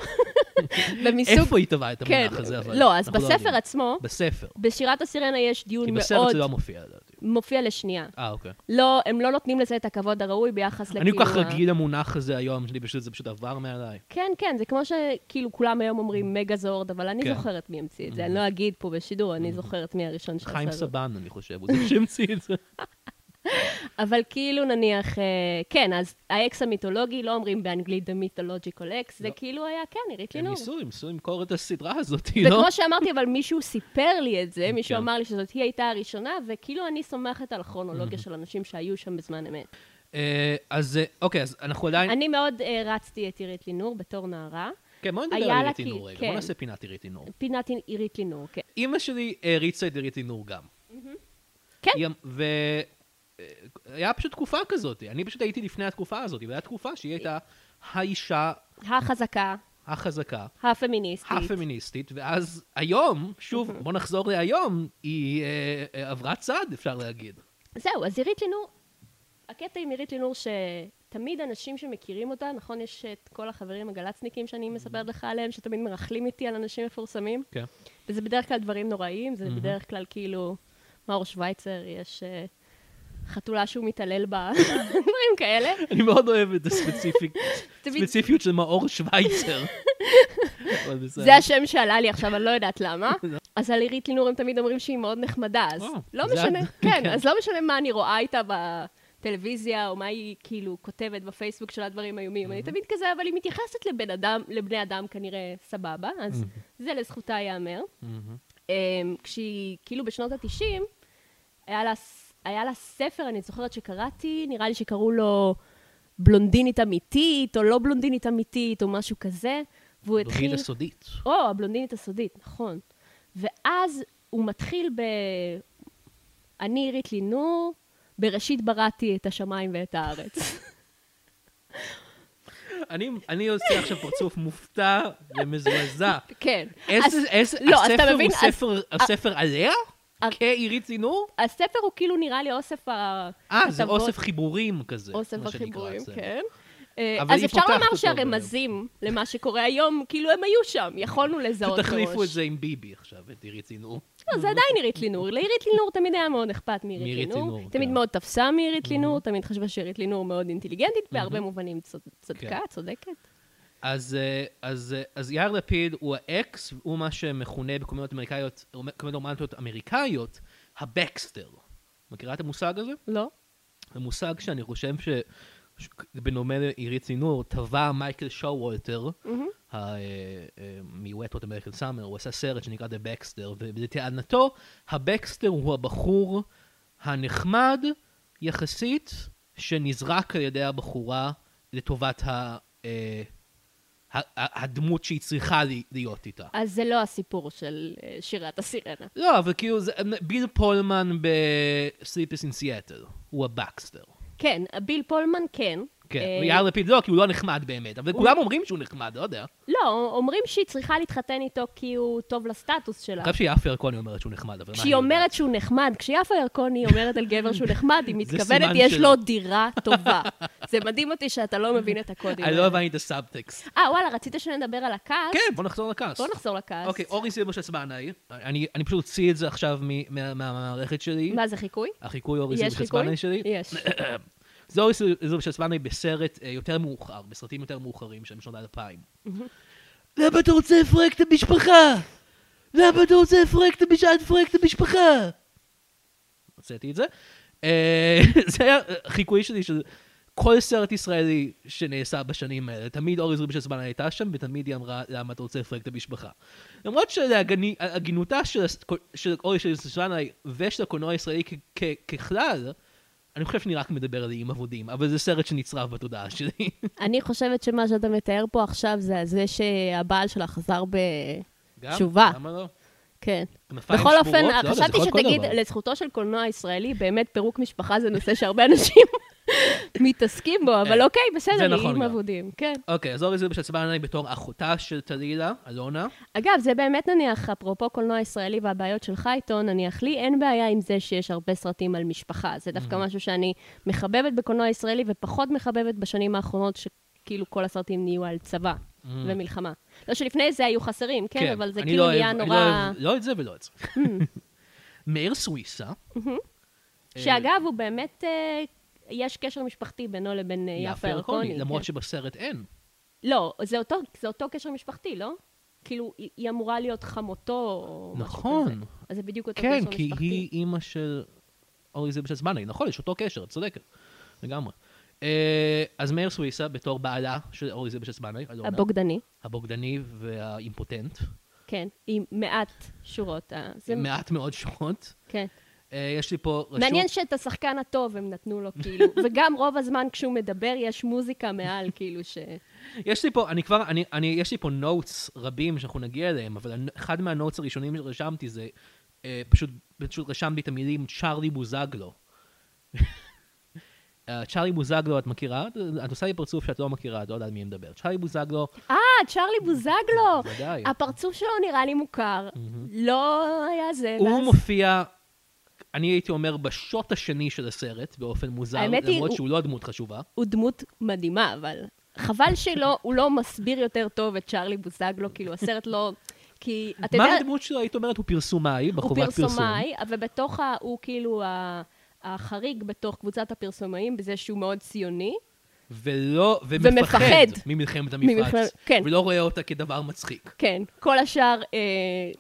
[SPEAKER 2] במסוג...
[SPEAKER 1] איפה היא טבעה את המונח הזה, אבל...
[SPEAKER 2] לא, אז
[SPEAKER 1] אנחנו
[SPEAKER 2] בספר
[SPEAKER 1] יודעים.
[SPEAKER 2] עצמו,
[SPEAKER 1] בספר.
[SPEAKER 2] בשירת הסירנה יש דיון
[SPEAKER 1] כי
[SPEAKER 2] מאוד...
[SPEAKER 1] בסרט זה לא מופיע, לדעתי.
[SPEAKER 2] מופיע לשנייה.
[SPEAKER 1] אה, אוקיי.
[SPEAKER 2] לא, הם לא נותנים לזה את הכבוד הראוי ביחס לכאילו...
[SPEAKER 1] אני כל כך
[SPEAKER 2] כאילו ה-
[SPEAKER 1] רגיל למונח הזה היום, שלי פשוט, זה פשוט עבר מעליי.
[SPEAKER 2] כן, כן, זה כמו שכאילו כולם היום אומרים מגה זורד, אבל אני
[SPEAKER 1] כן.
[SPEAKER 2] זוכרת מי המציא את זה. אני לא אגיד פה בשידור, אני זוכרת מי הראשון שעשה
[SPEAKER 1] חיים
[SPEAKER 2] את זה.
[SPEAKER 1] סבן, אני חושב, הוא זה שהמציא את זה.
[SPEAKER 2] אבל כאילו נניח, אה, כן, אז האקס המיתולוגי, לא אומרים באנגלית The Mythological X, זה
[SPEAKER 1] לא.
[SPEAKER 2] כאילו היה, כן, עירית
[SPEAKER 1] הם
[SPEAKER 2] לינור.
[SPEAKER 1] ניסו, הם ניסו למכור את הסדרה הזאת, לא?
[SPEAKER 2] וכמו שאמרתי, אבל מישהו סיפר לי את זה, מישהו
[SPEAKER 1] כן.
[SPEAKER 2] אמר לי שזאת היא הייתה הראשונה, וכאילו אני סומכת על הכרונולוגיה של אנשים שהיו שם בזמן אמת.
[SPEAKER 1] אה, אז אה, אוקיי, אז אנחנו עדיין...
[SPEAKER 2] אני מאוד אה, רצתי את עירית לינור בתור נערה.
[SPEAKER 1] כן, בוא נדבר
[SPEAKER 2] היה
[SPEAKER 1] על
[SPEAKER 2] לה
[SPEAKER 1] עירית
[SPEAKER 2] כי-
[SPEAKER 1] אינור רגע,
[SPEAKER 2] כן.
[SPEAKER 1] בוא נעשה פינת עירית אינור.
[SPEAKER 2] פינת עירית לינור, כן.
[SPEAKER 1] אימא שלי העריצה את עירית אינור גם.
[SPEAKER 2] כן.
[SPEAKER 1] היא אמ- ו... אה, היה פשוט תקופה כזאת, אני פשוט הייתי לפני התקופה הזאת, והייתה תקופה שהיא הייתה האישה
[SPEAKER 2] החזקה,
[SPEAKER 1] החזקה,
[SPEAKER 2] הפמיניסטית.
[SPEAKER 1] הפמיניסטית, ואז היום, שוב, בוא נחזור להיום, היא אה, אה, עברה צד, אפשר להגיד.
[SPEAKER 2] זהו, אז עירית לינור, הקטע עם עירית לינור שתמיד אנשים שמכירים אותה, נכון, יש את כל החברים הגלצניקים שאני מספרת לך עליהם, שתמיד מרכלים איתי על אנשים מפורסמים,
[SPEAKER 1] כן.
[SPEAKER 2] וזה בדרך כלל דברים נוראים, זה בדרך כלל כאילו, מאור שווייצר, יש אה, חתולה שהוא מתעלל בה, דברים כאלה.
[SPEAKER 1] אני מאוד אוהב את הספציפיק-
[SPEAKER 2] תמיד-
[SPEAKER 1] ספציפיות של מאור שווייצר. אבל בסדר.
[SPEAKER 2] זה השם שעלה לי עכשיו, אני לא יודעת למה. אז על עירית לינור הם תמיד אומרים שהיא מאוד נחמדה, אז
[SPEAKER 1] וואו,
[SPEAKER 2] לא
[SPEAKER 1] זה
[SPEAKER 2] משנה,
[SPEAKER 1] את-
[SPEAKER 2] כן,
[SPEAKER 1] אה, כן.
[SPEAKER 2] אז לא משנה מה אני רואה איתה בטלוויזיה, או מה היא כאילו כותבת בפייסבוק שלה דברים איומים, אני תמיד כזה, אבל היא מתייחסת לבן אדם, לבני אדם כנראה סבבה, אז זה לזכותה ייאמר.
[SPEAKER 1] מהמם.
[SPEAKER 2] אמ, כשהיא, כאילו בשנות ה-90, היה לה, ס- היה לה ספר, אני זוכרת שקראתי, נראה לי שקראו לו בלונדינית אמיתית, או לא בלונדינית אמיתית, או משהו כזה, והוא התחיל...
[SPEAKER 1] בריל הסודית.
[SPEAKER 2] או, הבלונדינית הסודית, נכון. ואז הוא מתחיל ב... אני עירית לינור, בראשית בראתי את השמיים ואת הארץ.
[SPEAKER 1] אני- אני עושה עכשיו פרצוף מופתע ומזועזע.
[SPEAKER 2] כן.
[SPEAKER 1] איזה,
[SPEAKER 2] אז-
[SPEAKER 1] איזה,
[SPEAKER 2] לא, אז אתה
[SPEAKER 1] הספר
[SPEAKER 2] מבין,
[SPEAKER 1] הוא
[SPEAKER 2] אז-
[SPEAKER 1] ספר, הספר עליה?
[SPEAKER 2] אה.
[SPEAKER 1] כעירית צינור?
[SPEAKER 2] הספר הוא כאילו נראה לי אוסף ה...
[SPEAKER 1] אה, זה
[SPEAKER 2] כתבות-
[SPEAKER 1] אוסף חיבורים כזה.
[SPEAKER 2] אוסף
[SPEAKER 1] מה שנקרא
[SPEAKER 2] החיבורים,
[SPEAKER 1] אצלנו.
[SPEAKER 2] כן. אה,
[SPEAKER 1] אבל
[SPEAKER 2] אז
[SPEAKER 1] היא
[SPEAKER 2] אפשר
[SPEAKER 1] פותחת
[SPEAKER 2] לומר
[SPEAKER 1] אותו
[SPEAKER 2] שהרמזים למה שקורה היום, כאילו הם היו שם, יכולנו לזהות מראש.
[SPEAKER 1] תחליפו את זה עם ביבי עכשיו, את עירית צינור.
[SPEAKER 2] לא, זה עדיין עירית לינור. לעירית לינור תמיד היה מאוד אכפת מעירית
[SPEAKER 1] מעירית
[SPEAKER 2] לינור. Mm-hmm.
[SPEAKER 1] לינור,
[SPEAKER 2] תמיד
[SPEAKER 1] כן.
[SPEAKER 2] מאוד תפסה מעירית לינור, תמיד חשבה שעירית לינור מאוד אינטליגנטית, בהרבה מובנים צוד- צדקה,
[SPEAKER 1] כן.
[SPEAKER 2] צודקת.
[SPEAKER 1] אז, אה, אז, אה, אז יאיר לפיד הוא האקס, הוא מה שמכונה בקומדיות אמריקאיות, קומדיות רומנטיות אמריקאיות, הבקסטר. מכירה את המושג הזה?
[SPEAKER 2] לא?
[SPEAKER 1] זה מושג שאני חושב ש... ש- בנאומי עירית צינור, טבע מייקל שואוולטר, אה, מ-Wet Hot American Summer, הוא עשה סרט שנקרא The Baxter, ולטענתו, הבקסטר הוא הבחור הנחמד יחסית, שנזרק על ידי הבחורה לטובת ה... אה, ה- ה- הדמות שהיא צריכה לי- להיות איתה.
[SPEAKER 2] אז זה לא הסיפור של אה, שירת הסירנה.
[SPEAKER 1] לא, אבל כאילו, זה- ביל פולמן ב-Sleepers in Seattle, הוא הבקסטר.
[SPEAKER 2] כן, ביל פולמן כן.
[SPEAKER 1] כן,
[SPEAKER 2] אה,
[SPEAKER 1] ויאיר לפיד לא, כי הוא לא נחמד באמת, אבל כולם אומרים שהוא נחמד, לא יודע.
[SPEAKER 2] לא, אומרים שהיא צריכה להתחתן איתו כי הוא טוב לסטטוס שלה.
[SPEAKER 1] אני חושב שיפה ירקוני אומרת שהוא נחמד, אבל מה אני
[SPEAKER 2] כשהיא
[SPEAKER 1] יודע?
[SPEAKER 2] אומרת שהוא נחמד, כשיפה ירקוני אומרת על גבר שהוא נחמד, היא
[SPEAKER 1] זה
[SPEAKER 2] מתכוונת,
[SPEAKER 1] סימן
[SPEAKER 2] יש
[SPEAKER 1] שלא.
[SPEAKER 2] לו דירה טובה. זה מדהים אותי שאתה לא מבין את הקודים
[SPEAKER 1] אני לא הבנתי את הסאבטקסט.
[SPEAKER 2] אה, וואלה, רצית שנדבר על הכעס?
[SPEAKER 1] כן, בוא נחזור לכעס.
[SPEAKER 2] בוא נחזור לכעס.
[SPEAKER 1] אוקיי, אורי סילבוש עצבנאי, אני אני פשוט אוציא את זה עכשיו מ- מה- מהמערכת שלי.
[SPEAKER 2] מה זה חיקוי?
[SPEAKER 1] החיקוי אורי
[SPEAKER 2] יש
[SPEAKER 1] סילבוש
[SPEAKER 2] חיקוי? אה.
[SPEAKER 1] עצבנאי שלי.
[SPEAKER 2] יש.
[SPEAKER 1] זה אורי סילבוש עצבנאי בסרט אה, יותר מאוחר, בסרטים יותר מאוחרים שהם שנות האלפיים. למה אתה רוצה לפרק את המשפחה? למה אתה רוצה לפרק את המש- את לפרק את המשפחה? הוצאתי את זה. אה, זה היה חיקוי שלי של כל סרט ישראלי שנעשה בשנים האלה. תמיד אורי זריבי של זמן הייתה שם, ותמיד היא אמרה, למה אתה רוצה לפרק את המשפחה? למרות שהגינותה של, הס- של אורי של זמן ושל הקולנוע הישראלי כ- כ- ככלל, אני חושב שאני רק מדבר על איים אבודים, אבל זה סרט שנצרב בתודעה שלי.
[SPEAKER 2] אני חושבת שמה שאתה מתאר פה עכשיו זה על זה שהבעל שלה חזר ב...
[SPEAKER 1] גם?
[SPEAKER 2] תשובה.
[SPEAKER 1] למה לא?
[SPEAKER 2] כן.
[SPEAKER 1] כנפיים
[SPEAKER 2] בכל אופן,
[SPEAKER 1] שבורות? לא יודע, זה
[SPEAKER 2] חשבתי
[SPEAKER 1] יכול להיות כל
[SPEAKER 2] שתגיד,
[SPEAKER 1] דבר.
[SPEAKER 2] לזכותו של קולנוע ישראלי, באמת פירוק משפחה זה נושא שהרבה אנשים מתעסקים בו, אבל
[SPEAKER 1] אה,
[SPEAKER 2] אוקיי, בסדר,
[SPEAKER 1] זה נכון
[SPEAKER 2] איים
[SPEAKER 1] גם.
[SPEAKER 2] אבודים. כן.
[SPEAKER 1] אוקיי, אז אורי זריבי של זמן בתור אחותה של טלילה, אלונה.
[SPEAKER 2] אגב, זה באמת נניח, אפרופו קולנוע ישראלי והבעיות שלך איתו, נניח לי אין בעיה עם זה שיש הרבה סרטים על משפחה. זה דווקא
[SPEAKER 1] Mm-hmm.
[SPEAKER 2] משהו שאני מחבבת בקולנוע ישראלי ופחות מחבבת בשנים האחרונות, שכאילו כל הסרטים נהיו על צבא ומלחמה. לא שלפני זה היו חסרים, כן, אבל זה
[SPEAKER 1] Mm-hmm. אני
[SPEAKER 2] כאילו
[SPEAKER 1] לא
[SPEAKER 2] נהיה Mm.
[SPEAKER 1] אוהב- אני
[SPEAKER 2] נורא...
[SPEAKER 1] לא אוהב לא את זה ולא את זה. מאיר סוויסה,
[SPEAKER 2] שאגב, הוא באמת, אה, יש קשר משפחתי בינו לבין אה, יפה ירקוני.
[SPEAKER 1] למרות
[SPEAKER 2] כן.
[SPEAKER 1] שבסרט אין.
[SPEAKER 2] לא, זה אותו, זה אותו קשר משפחתי, לא? כאילו, היא, היא אמורה להיות חמותו או משהו כזה.
[SPEAKER 1] נכון.
[SPEAKER 2] אז זה בדיוק אותו
[SPEAKER 1] כן,
[SPEAKER 2] קשר
[SPEAKER 1] כי
[SPEAKER 2] משפחתי.
[SPEAKER 1] היא אימא של אורי זבל זמני, נכון, יש אותו קשר, את צודקת, לגמרי. אה, אז מאיר סוויסה, בתור בעלה של אורי זבל זמני, אלונה,
[SPEAKER 2] הבוגדני,
[SPEAKER 1] הבוגדני והאימפוטנט,
[SPEAKER 2] כן, עם מעט שורות. אה, זה,
[SPEAKER 1] מעט מאוד שעות.
[SPEAKER 2] כן.
[SPEAKER 1] אה, יש לי פה רשום...
[SPEAKER 2] מעניין שאת השחקן הטוב הם נתנו לו, כאילו, וגם רוב הזמן כשהוא מדבר יש מוזיקה מעל, כאילו, ש...
[SPEAKER 1] יש לי פה, אני כבר, אני, אני, יש לי פה נוטס רבים שאנחנו נגיע אליהם, אבל הנ- אחד מהנוטס הראשונים שרשמתי זה, אה, פשוט, פשוט רשמתי את המילים צ'ארלי בוזגלו. אה, צ'ארלי בוזגלו, את מכירה? את עושה לי פרצוף שאת לא מכירה, את לא יודעת מי מדבר. צ'ארלי בוזגלו,
[SPEAKER 2] אה, צ'רלי בוזגלו!
[SPEAKER 1] בוודאי.
[SPEAKER 2] הפרצוף שלו נראה לי מוכר. לא היה זה,
[SPEAKER 1] הוא
[SPEAKER 2] ואז-
[SPEAKER 1] מופיע, אני הייתי אומר, בשוט השני של הסרט, באופן מוזר,
[SPEAKER 2] האמת היא,
[SPEAKER 1] למרות
[SPEAKER 2] הוא-
[SPEAKER 1] שהוא לא הדמות חשובה.
[SPEAKER 2] הוא דמות מדהימה, אבל חבל שלא, הוא לא מסביר יותר טוב את צ'רלי בוזגלו, כאילו, הסרט לא... כי, אתה
[SPEAKER 1] מה
[SPEAKER 2] יודע,
[SPEAKER 1] הדמות שלו, היית אומרת, הוא פרסומאי,
[SPEAKER 2] הוא
[SPEAKER 1] בחובת פרסום.
[SPEAKER 2] פרסומאי, אבל בתוך ה... הוא כאילו ה- החריג בתוך קבוצת הפרסומאים, בזה שהוא מאוד ציוני.
[SPEAKER 1] ולא,
[SPEAKER 2] ומפחד.
[SPEAKER 1] ומפחד ממלחמת המפרץ.
[SPEAKER 2] ממלחמת- כן.
[SPEAKER 1] ולא רואה אותה כדבר מצחיק.
[SPEAKER 2] כן, כל השאר אה,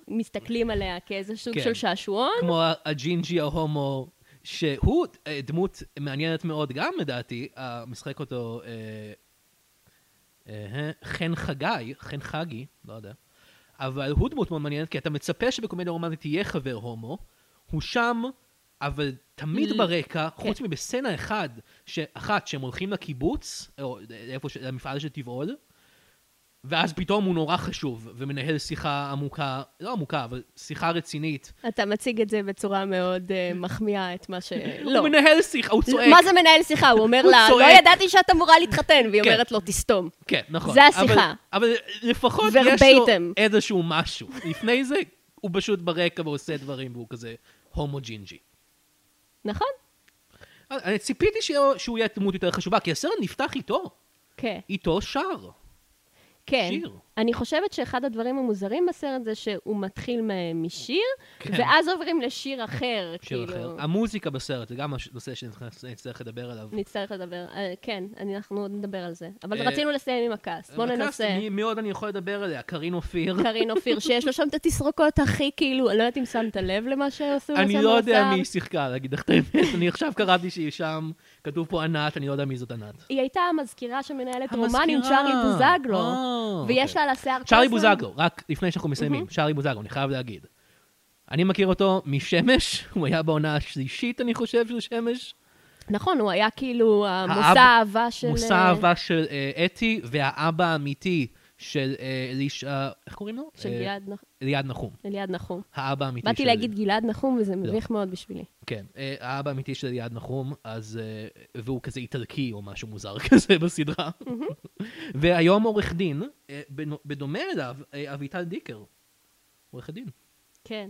[SPEAKER 2] מסתכלים עליה כאיזה סוג
[SPEAKER 1] כן.
[SPEAKER 2] של שעשועון.
[SPEAKER 1] כמו ה- הג'ינג'י ההומו, שהוא אה, דמות מעניינת מאוד גם, לדעתי, אה, משחק אותו אה, אה, חן חגי, חן חגי, לא יודע, אבל הוא דמות מאוד מעניינת, כי אתה מצפה שבקומדיה רומנטית תהיה חבר הומו, הוא שם, אבל תמיד
[SPEAKER 2] ל-
[SPEAKER 1] ברקע, חוץ מבסצנה אחד, ש- אחת, שהם הולכים לקיבוץ, או איפה, ש- למפעל של תבעול, ואז פתאום הוא נורא חשוב, ומנהל שיחה עמוקה, לא עמוקה, אבל שיחה רצינית
[SPEAKER 2] אתה מציג את זה בצורה מאוד אה, מחמיאה, את מה ש... לא.
[SPEAKER 1] הוא מנהל שיחה, הוא צועק.
[SPEAKER 2] מה זה מנהל שיחה? הוא אומר
[SPEAKER 1] הוא
[SPEAKER 2] לה, לא
[SPEAKER 1] צועק.
[SPEAKER 2] ידעתי שאת אמורה להתחתן, והיא
[SPEAKER 1] כן.
[SPEAKER 2] אומרת לו, תסתום.
[SPEAKER 1] כן, נכון.
[SPEAKER 2] זה השיחה.
[SPEAKER 1] אבל, אבל לפחות יש לו
[SPEAKER 2] Verbatim.
[SPEAKER 1] איזשהו משהו. לפני זה, הוא פשוט ברקע ועושה דברים, והוא כזה הומו ג'ינג'י.
[SPEAKER 2] נכון?
[SPEAKER 1] אני ציפיתי שהוא, שהוא יהיה דמות יותר חשובה, כי הסרט נפתח איתו.
[SPEAKER 2] כן.
[SPEAKER 1] איתו שר.
[SPEAKER 2] כן.
[SPEAKER 1] שיר.
[SPEAKER 2] אני חושבת שאחד הדברים המוזרים בסרט זה שהוא מתחיל מ- משיר,
[SPEAKER 1] כן.
[SPEAKER 2] ואז עוברים לשיר אחר,
[SPEAKER 1] שיר
[SPEAKER 2] כאילו...
[SPEAKER 1] אחר. המוזיקה בסרט, זה גם מש- נושא שנצטרך לדבר עליו.
[SPEAKER 2] נצטרך לדבר, אה, כן, אני- אנחנו עוד נדבר על זה. אבל
[SPEAKER 1] אה,
[SPEAKER 2] רצינו לסיים עם הכעס, בואו
[SPEAKER 1] לקחת,
[SPEAKER 2] ננסה.
[SPEAKER 1] מי, מי עוד אני יכול לדבר עליה? קארין אופיר.
[SPEAKER 2] קארין אופיר, שיש לו שם את התסרוקות הכי כאילו, אני לא יודעת אם שמת לב למה שעשו בסם
[SPEAKER 1] אני לא יודע
[SPEAKER 2] האוצר.
[SPEAKER 1] מי היא שיחקה, להגיד לך את האמת. אני עכשיו קראתי שהיא שם, כתוב פה ענת, אני לא יודע מי זאת ענת.
[SPEAKER 2] היא הייתה המזכירה שמנהלת רומן עם
[SPEAKER 1] המזכירה.
[SPEAKER 2] צ'ארלי בוזגלו,
[SPEAKER 1] אה,
[SPEAKER 2] ויש
[SPEAKER 1] אוקיי.
[SPEAKER 2] לה על השיער כל
[SPEAKER 1] צ'ארלי
[SPEAKER 2] הזמן-
[SPEAKER 1] בוזגלו, רק לפני שאנחנו מסיימים, צ'ארלי בוזגלו, אני חייב להגיד. אני מכיר אותו משמש, הוא היה בעונה השלישית, אני חושב, של שמש.
[SPEAKER 2] נכון, הוא היה כאילו
[SPEAKER 1] האב-
[SPEAKER 2] המושא האהבה של... אה,
[SPEAKER 1] מושא אהבה של אה, אתי, והאבא האמיתי של אה, אלישע, איך קוראים לו?
[SPEAKER 2] של
[SPEAKER 1] אה,
[SPEAKER 2] גלעד נח-
[SPEAKER 1] אליעד נחום.
[SPEAKER 2] אליעד נחום.
[SPEAKER 1] האבא האמיתי של... לא.
[SPEAKER 2] באתי להגיד גלעד נחום, וזה מביך מאוד בשבילי.
[SPEAKER 1] כן, אה, האבא האמיתי של אליעד נחום, אז... אה, והוא כזה איטלקי או משהו מוזר כזה בסדרה. והיום עורך דין, אה, בנו- בדומה אליו, אה, אביטל דיקר. עורך דין.
[SPEAKER 2] כן.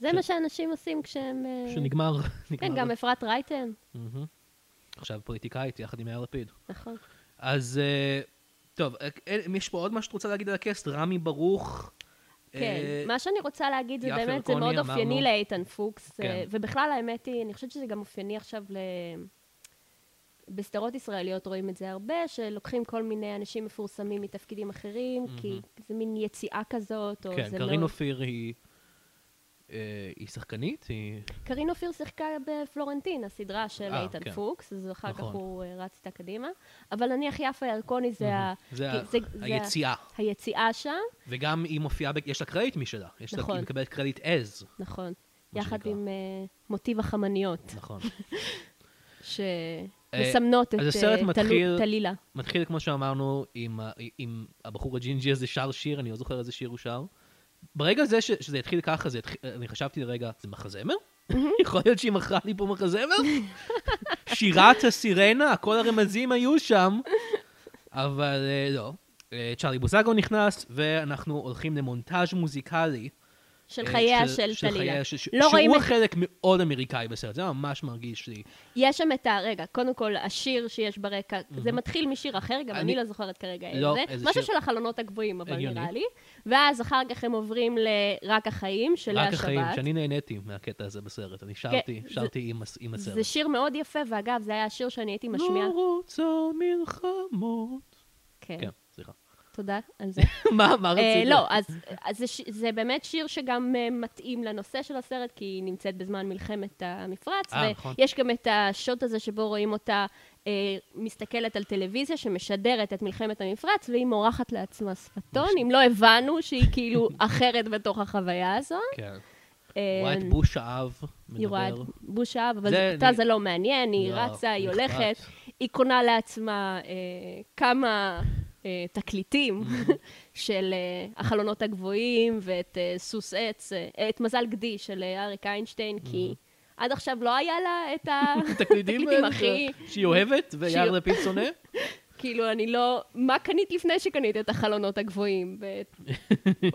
[SPEAKER 2] זה מה שאנשים עושים כשהם... אה,
[SPEAKER 1] שנגמר. נגמר.
[SPEAKER 2] כן, גם אפרת רייטן.
[SPEAKER 1] מהמם. עכשיו פוליטיקאית יחד עם יאיר לפיד.
[SPEAKER 2] נכון.
[SPEAKER 1] אז אה, טוב, אה, אה, יש פה עוד משהו שאת רוצה להגיד על הקאסט? רמי ברוך.
[SPEAKER 2] כן,
[SPEAKER 1] אה,
[SPEAKER 2] מה שאני רוצה להגיד זה
[SPEAKER 1] יפה
[SPEAKER 2] באמת, זה
[SPEAKER 1] ירקוני,
[SPEAKER 2] מאוד
[SPEAKER 1] אמרנו.
[SPEAKER 2] אופייני לאיתן פוקס, אה,
[SPEAKER 1] כן.
[SPEAKER 2] ובכלל האמת היא, אני חושבת שזה גם אופייני עכשיו ל... בסדרות ישראליות רואים את זה הרבה, שלוקחים כל מיני אנשים מפורסמים מתפקידים אחרים, כי זה מין יציאה כזאת, או
[SPEAKER 1] כן,
[SPEAKER 2] זה
[SPEAKER 1] קארין
[SPEAKER 2] לא...
[SPEAKER 1] אופיר היא... אה, היא שחקנית? היא...
[SPEAKER 2] קארין אופיר שיחקה בפלורנטין, הסדרה של
[SPEAKER 1] אה,
[SPEAKER 2] איתן
[SPEAKER 1] כן.
[SPEAKER 2] פוקס, אז אחר
[SPEAKER 1] נכון.
[SPEAKER 2] כך הוא אה, רץ איתה קדימה. אבל נניח יפה ירקוני זה ה-
[SPEAKER 1] זה
[SPEAKER 2] כי-
[SPEAKER 1] ה-
[SPEAKER 2] זה
[SPEAKER 1] היציאה.
[SPEAKER 2] ה- היציאה שם,
[SPEAKER 1] וגם היא מופיעה, ב- יש לה קרדיט משלה. יש לה,
[SPEAKER 2] נכון.
[SPEAKER 1] היא מקבלת קרדיט עז.
[SPEAKER 2] נכון,
[SPEAKER 1] מה
[SPEAKER 2] יחד
[SPEAKER 1] שנקרא.
[SPEAKER 2] עם אה, מוטיב החמניות.
[SPEAKER 1] נכון.
[SPEAKER 2] שמסמנות את
[SPEAKER 1] אז
[SPEAKER 2] אה,
[SPEAKER 1] הסרט
[SPEAKER 2] תלו-
[SPEAKER 1] מתחיל-
[SPEAKER 2] טלילה.
[SPEAKER 1] מתחיל, כמו שאמרנו, עם, ה- עם הבחור הג'ינג'י הזה שר שיר, אני לא זוכר איזה שיר הוא שר. ברגע הזה ש, שזה התחיל ככה, זה התחיל, אני חשבתי לרגע, זה מחזמר? יכול להיות שהיא מכרה לי פה מחזמר? שירת הסירנה, כל הרמזים היו שם. אבל אה, לא. אה, צ'ארלי בוזגו נכנס, ואנחנו הולכים למונטאז' מוזיקלי.
[SPEAKER 2] של
[SPEAKER 1] אה,
[SPEAKER 2] חייה של
[SPEAKER 1] של
[SPEAKER 2] טלילה.
[SPEAKER 1] חייה של- ש-
[SPEAKER 2] לא רואים
[SPEAKER 1] שהוא
[SPEAKER 2] את-
[SPEAKER 1] החלק מאוד אמריקאי בסרט, זה ממש מרגיש לי.
[SPEAKER 2] יש שם את ה... רגע, קודם כל, השיר שיש ברקע, זה מתחיל משיר אחר, גם
[SPEAKER 1] אני-
[SPEAKER 2] אני לא זוכרת כרגע
[SPEAKER 1] לא,
[SPEAKER 2] איזה.
[SPEAKER 1] איזה
[SPEAKER 2] משהו
[SPEAKER 1] שיר?
[SPEAKER 2] של החלונות הגבוהים, אבל
[SPEAKER 1] הגיוני.
[SPEAKER 2] נראה לי. ואז אחר כך הם עוברים ל"רק החיים", של לאה
[SPEAKER 1] רק החיים,
[SPEAKER 2] שבת.
[SPEAKER 1] שאני נהניתי מהקטע הזה בסרט, אני שרתי,
[SPEAKER 2] זה-
[SPEAKER 1] שרתי עם הס- עם הסרט.
[SPEAKER 2] זה שיר מאוד יפה, ואגב, זה היה השיר שאני הייתי משמיעה.
[SPEAKER 1] לא רוצה מלחמות.
[SPEAKER 2] כן,
[SPEAKER 1] כן, סליחה.
[SPEAKER 2] תודה על זה.
[SPEAKER 1] מה, מה
[SPEAKER 2] אה,
[SPEAKER 1] רצית?
[SPEAKER 2] לא, אז אז זה ש- זה באמת שיר שגם אה, מתאים לנושא של הסרט, כי היא נמצאת בזמן מלחמת המפרץ,
[SPEAKER 1] אה, נכון.
[SPEAKER 2] ויש גם את השוט הזה שבו רואים אותה אה, מסתכלת על טלוויזיה שמשדרת את מלחמת המפרץ, והיא מורחת לעצמה שפתון, אם לא הבנו שהיא כאילו אחרת בתוך החוויה הזו.
[SPEAKER 1] כן.
[SPEAKER 2] אה,
[SPEAKER 1] רואה את בוש האב
[SPEAKER 2] היא רואה את
[SPEAKER 1] מדבר.
[SPEAKER 2] בוש האב, אבל
[SPEAKER 1] זה-
[SPEAKER 2] אותה
[SPEAKER 1] אני-
[SPEAKER 2] זה לא מעניין, היא
[SPEAKER 1] לא,
[SPEAKER 2] רצה, היא
[SPEAKER 1] נחרץ.
[SPEAKER 2] הולכת, היא קונה לעצמה אה, כמה אה, תקליטים של אה, החלונות הגבוהים ואת אה, סוס עץ, אה, את מזל גדי של אה, אריק איינשטיין, כי עד עכשיו לא היה לה את ה...
[SPEAKER 1] תקליטים
[SPEAKER 2] תקליטים
[SPEAKER 1] אה,
[SPEAKER 2] הכי-
[SPEAKER 1] שהיא אוהבת, ויאיר
[SPEAKER 2] שהיא-
[SPEAKER 1] לפיד שונא.
[SPEAKER 2] כאילו, אני לא... מה קנית לפני שקנית את החלונות הגבוהים? ואת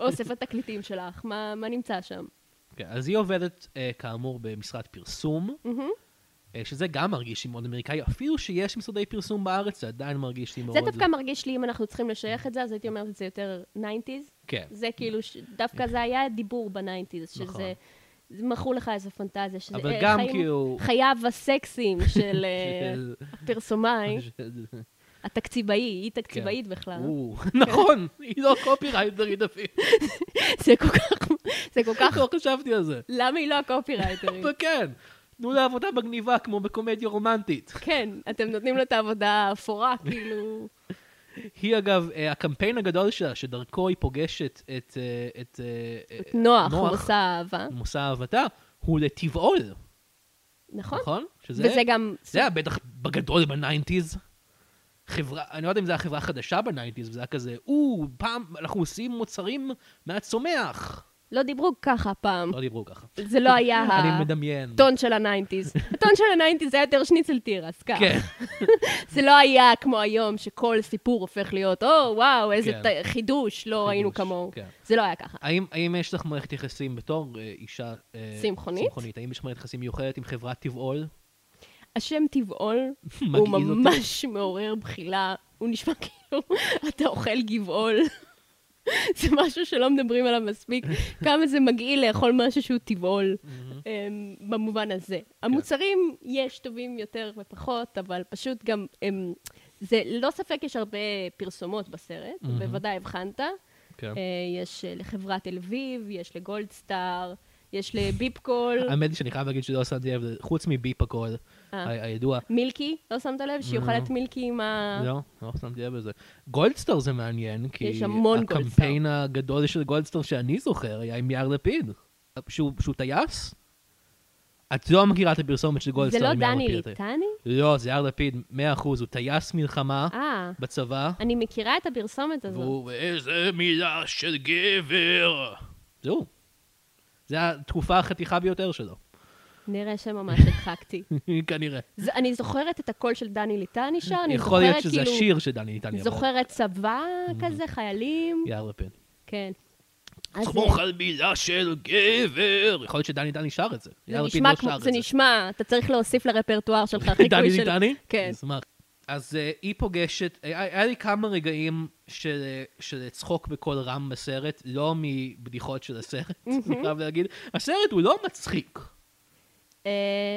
[SPEAKER 2] אוסף התקליטים שלך, מה, מה נמצא שם?
[SPEAKER 1] כן, אז היא עובדת, אה, כאמור, במשרד פרסום,
[SPEAKER 2] מהמם.
[SPEAKER 1] אה, שזה גם מרגיש לי מאוד אמריקאי, אפילו שיש משרדי פרסום בארץ, זה עדיין מרגיש לי מאוד...
[SPEAKER 2] זה דווקא מרגיש לי, אם אנחנו צריכים לשייך את זה, אז הייתי אומרת את זה יותר 90's.
[SPEAKER 1] כן.
[SPEAKER 2] זה כאילו, ש- דווקא זה היה דיבור בניינטיז,
[SPEAKER 1] נכון.
[SPEAKER 2] שזה... זה מכרו לך איזה פנטזיה, שזה
[SPEAKER 1] אבל
[SPEAKER 2] אה,
[SPEAKER 1] גם
[SPEAKER 2] חיים-
[SPEAKER 1] כאילו-
[SPEAKER 2] חייו הסקסיים של אה,
[SPEAKER 1] של-
[SPEAKER 2] הפרסומאי,
[SPEAKER 1] של-
[SPEAKER 2] התקציבאי, היא תקציבאית בכלל.
[SPEAKER 1] כן.
[SPEAKER 2] לא?
[SPEAKER 1] או, נכון, היא לא קופירייטרית אפילו,
[SPEAKER 2] זה כל כך, זה כל כך,
[SPEAKER 1] לא חשבתי על זה.
[SPEAKER 2] למה היא לא הקופירייטרית?
[SPEAKER 1] אבל כן, תנו לה עבודה מגניבה כמו בקומדיה רומנטית.
[SPEAKER 2] כן, אתם נותנים לה את העבודה האפורה, כאילו...
[SPEAKER 1] היא אגב, אה, הקמפיין הגדול שלה, שדרכו היא פוגשת את אה, את, אה,
[SPEAKER 2] את נוח, הוא
[SPEAKER 1] נוח.
[SPEAKER 2] עושה אהבה.
[SPEAKER 1] מושא אהבתה, הוא לטבעול,
[SPEAKER 2] נכון?
[SPEAKER 1] נכון? שזה-
[SPEAKER 2] וזה גם...
[SPEAKER 1] זה היה בטח בגדול בניינטיז. חברה, אני לא יודע אם זו הייתה חברה חדשה בניינטיז, וזה היה כזה, או, פעם אנחנו עושים מוצרים מהצומח.
[SPEAKER 2] לא דיברו ככה פעם.
[SPEAKER 1] לא דיברו ככה.
[SPEAKER 2] זה לא היה
[SPEAKER 1] אני מדמיין.
[SPEAKER 2] הטון של הניינטיז. הטון של הניינטיז היה יותר שניצל תירס, ככה.
[SPEAKER 1] כן,
[SPEAKER 2] זה לא היה כמו היום, שכל סיפור הופך להיות, או, וואו, איזה
[SPEAKER 1] כן.
[SPEAKER 2] ת- חידוש, לא ראינו כמוהו.
[SPEAKER 1] כן.
[SPEAKER 2] זה לא היה ככה.
[SPEAKER 1] האם, האם יש לך מערכת יחסים בתור אה, אישה אה,
[SPEAKER 2] צמחונית?
[SPEAKER 1] צמחונית? האם יש מערכת יחסים מיוחדת עם חברת טבעול?
[SPEAKER 2] השם טבעול הוא
[SPEAKER 1] מגעיל אותי.
[SPEAKER 2] ממש מעורר בחילה. הוא נשמע כאילו, אתה אוכל גבעול. זה משהו שלא מדברים עליו מספיק. כמה זה מגעיל לאכול משהו שהוא טבעול, אמ, במובן הזה.
[SPEAKER 1] כן.
[SPEAKER 2] המוצרים, יש טובים יותר ופחות, אבל פשוט גם, אמ, זה ללא ספק יש הרבה פרסומות בסרט, בוודאי הבחנת.
[SPEAKER 1] כן.
[SPEAKER 2] אה, יש אה, לחברת תל אביב, יש לגולדסטאר, יש לביפקול,
[SPEAKER 1] האמת היא שאני חייב להגיד שלא שמתי לב, לזה, חוץ מביפ הכל,
[SPEAKER 2] אה.
[SPEAKER 1] ה- הידוע.
[SPEAKER 2] מילקי, לא שמת לב? שהיא אוכלת מילקי עם ה...
[SPEAKER 1] לא, לא שמתי לב לזה. גולדסטאר זה מעניין, כי
[SPEAKER 2] אה. יש המון
[SPEAKER 1] הקמפיין הגדול של גולדסטאר שאני זוכר היה עם יאיר לפיד, אה, שהוא שהוא טייס. את לא מכירה את הפרסומת של
[SPEAKER 2] זה
[SPEAKER 1] גולדסטאר
[SPEAKER 2] לא
[SPEAKER 1] עם יאיר
[SPEAKER 2] דני
[SPEAKER 1] לפיד.
[SPEAKER 2] ליטני?
[SPEAKER 1] לא, זה יאיר לפיד, 100%, הוא טייס מלחמה
[SPEAKER 2] אה,
[SPEAKER 1] בצבא.
[SPEAKER 2] אני מכירה את הפרסומת הזאת.
[SPEAKER 1] והוא, איזה מילה של גבר. זהו. זו התקופה החתיכה ביותר שלו,
[SPEAKER 2] נראה שממש הדחקתי.
[SPEAKER 1] כנראה.
[SPEAKER 2] זה- אני זוכרת את הקול של דני ליטני שר, אני
[SPEAKER 1] יכול להיות
[SPEAKER 2] זוכרת
[SPEAKER 1] שזה
[SPEAKER 2] כאילו...
[SPEAKER 1] השיר Mm-hmm. שדני ניתן לי.
[SPEAKER 2] זוכרת צבא כזה, חיילים.
[SPEAKER 1] יאיר לפיד.
[SPEAKER 2] כן. אז אה,
[SPEAKER 1] סמוך על מילה של גבר. יכול להיות שדני ניתן שר את זה.
[SPEAKER 2] זה
[SPEAKER 1] יאיר לפיד
[SPEAKER 2] נשמע
[SPEAKER 1] לא
[SPEAKER 2] כמו-
[SPEAKER 1] שר את
[SPEAKER 2] זה נשמע, אתה צריך להוסיף לרפרטואר שלך חיקוי של...
[SPEAKER 1] דני ניתני?
[SPEAKER 2] כן.
[SPEAKER 1] נשמח. אז אה, היא פוגשת, היה היה לי כמה רגעים של אה, של צחוק בקול רם בסרט, לא מבדיחות של הסרט, אני חייב להגיד. הסרט הוא לא מצחיק.
[SPEAKER 2] אה,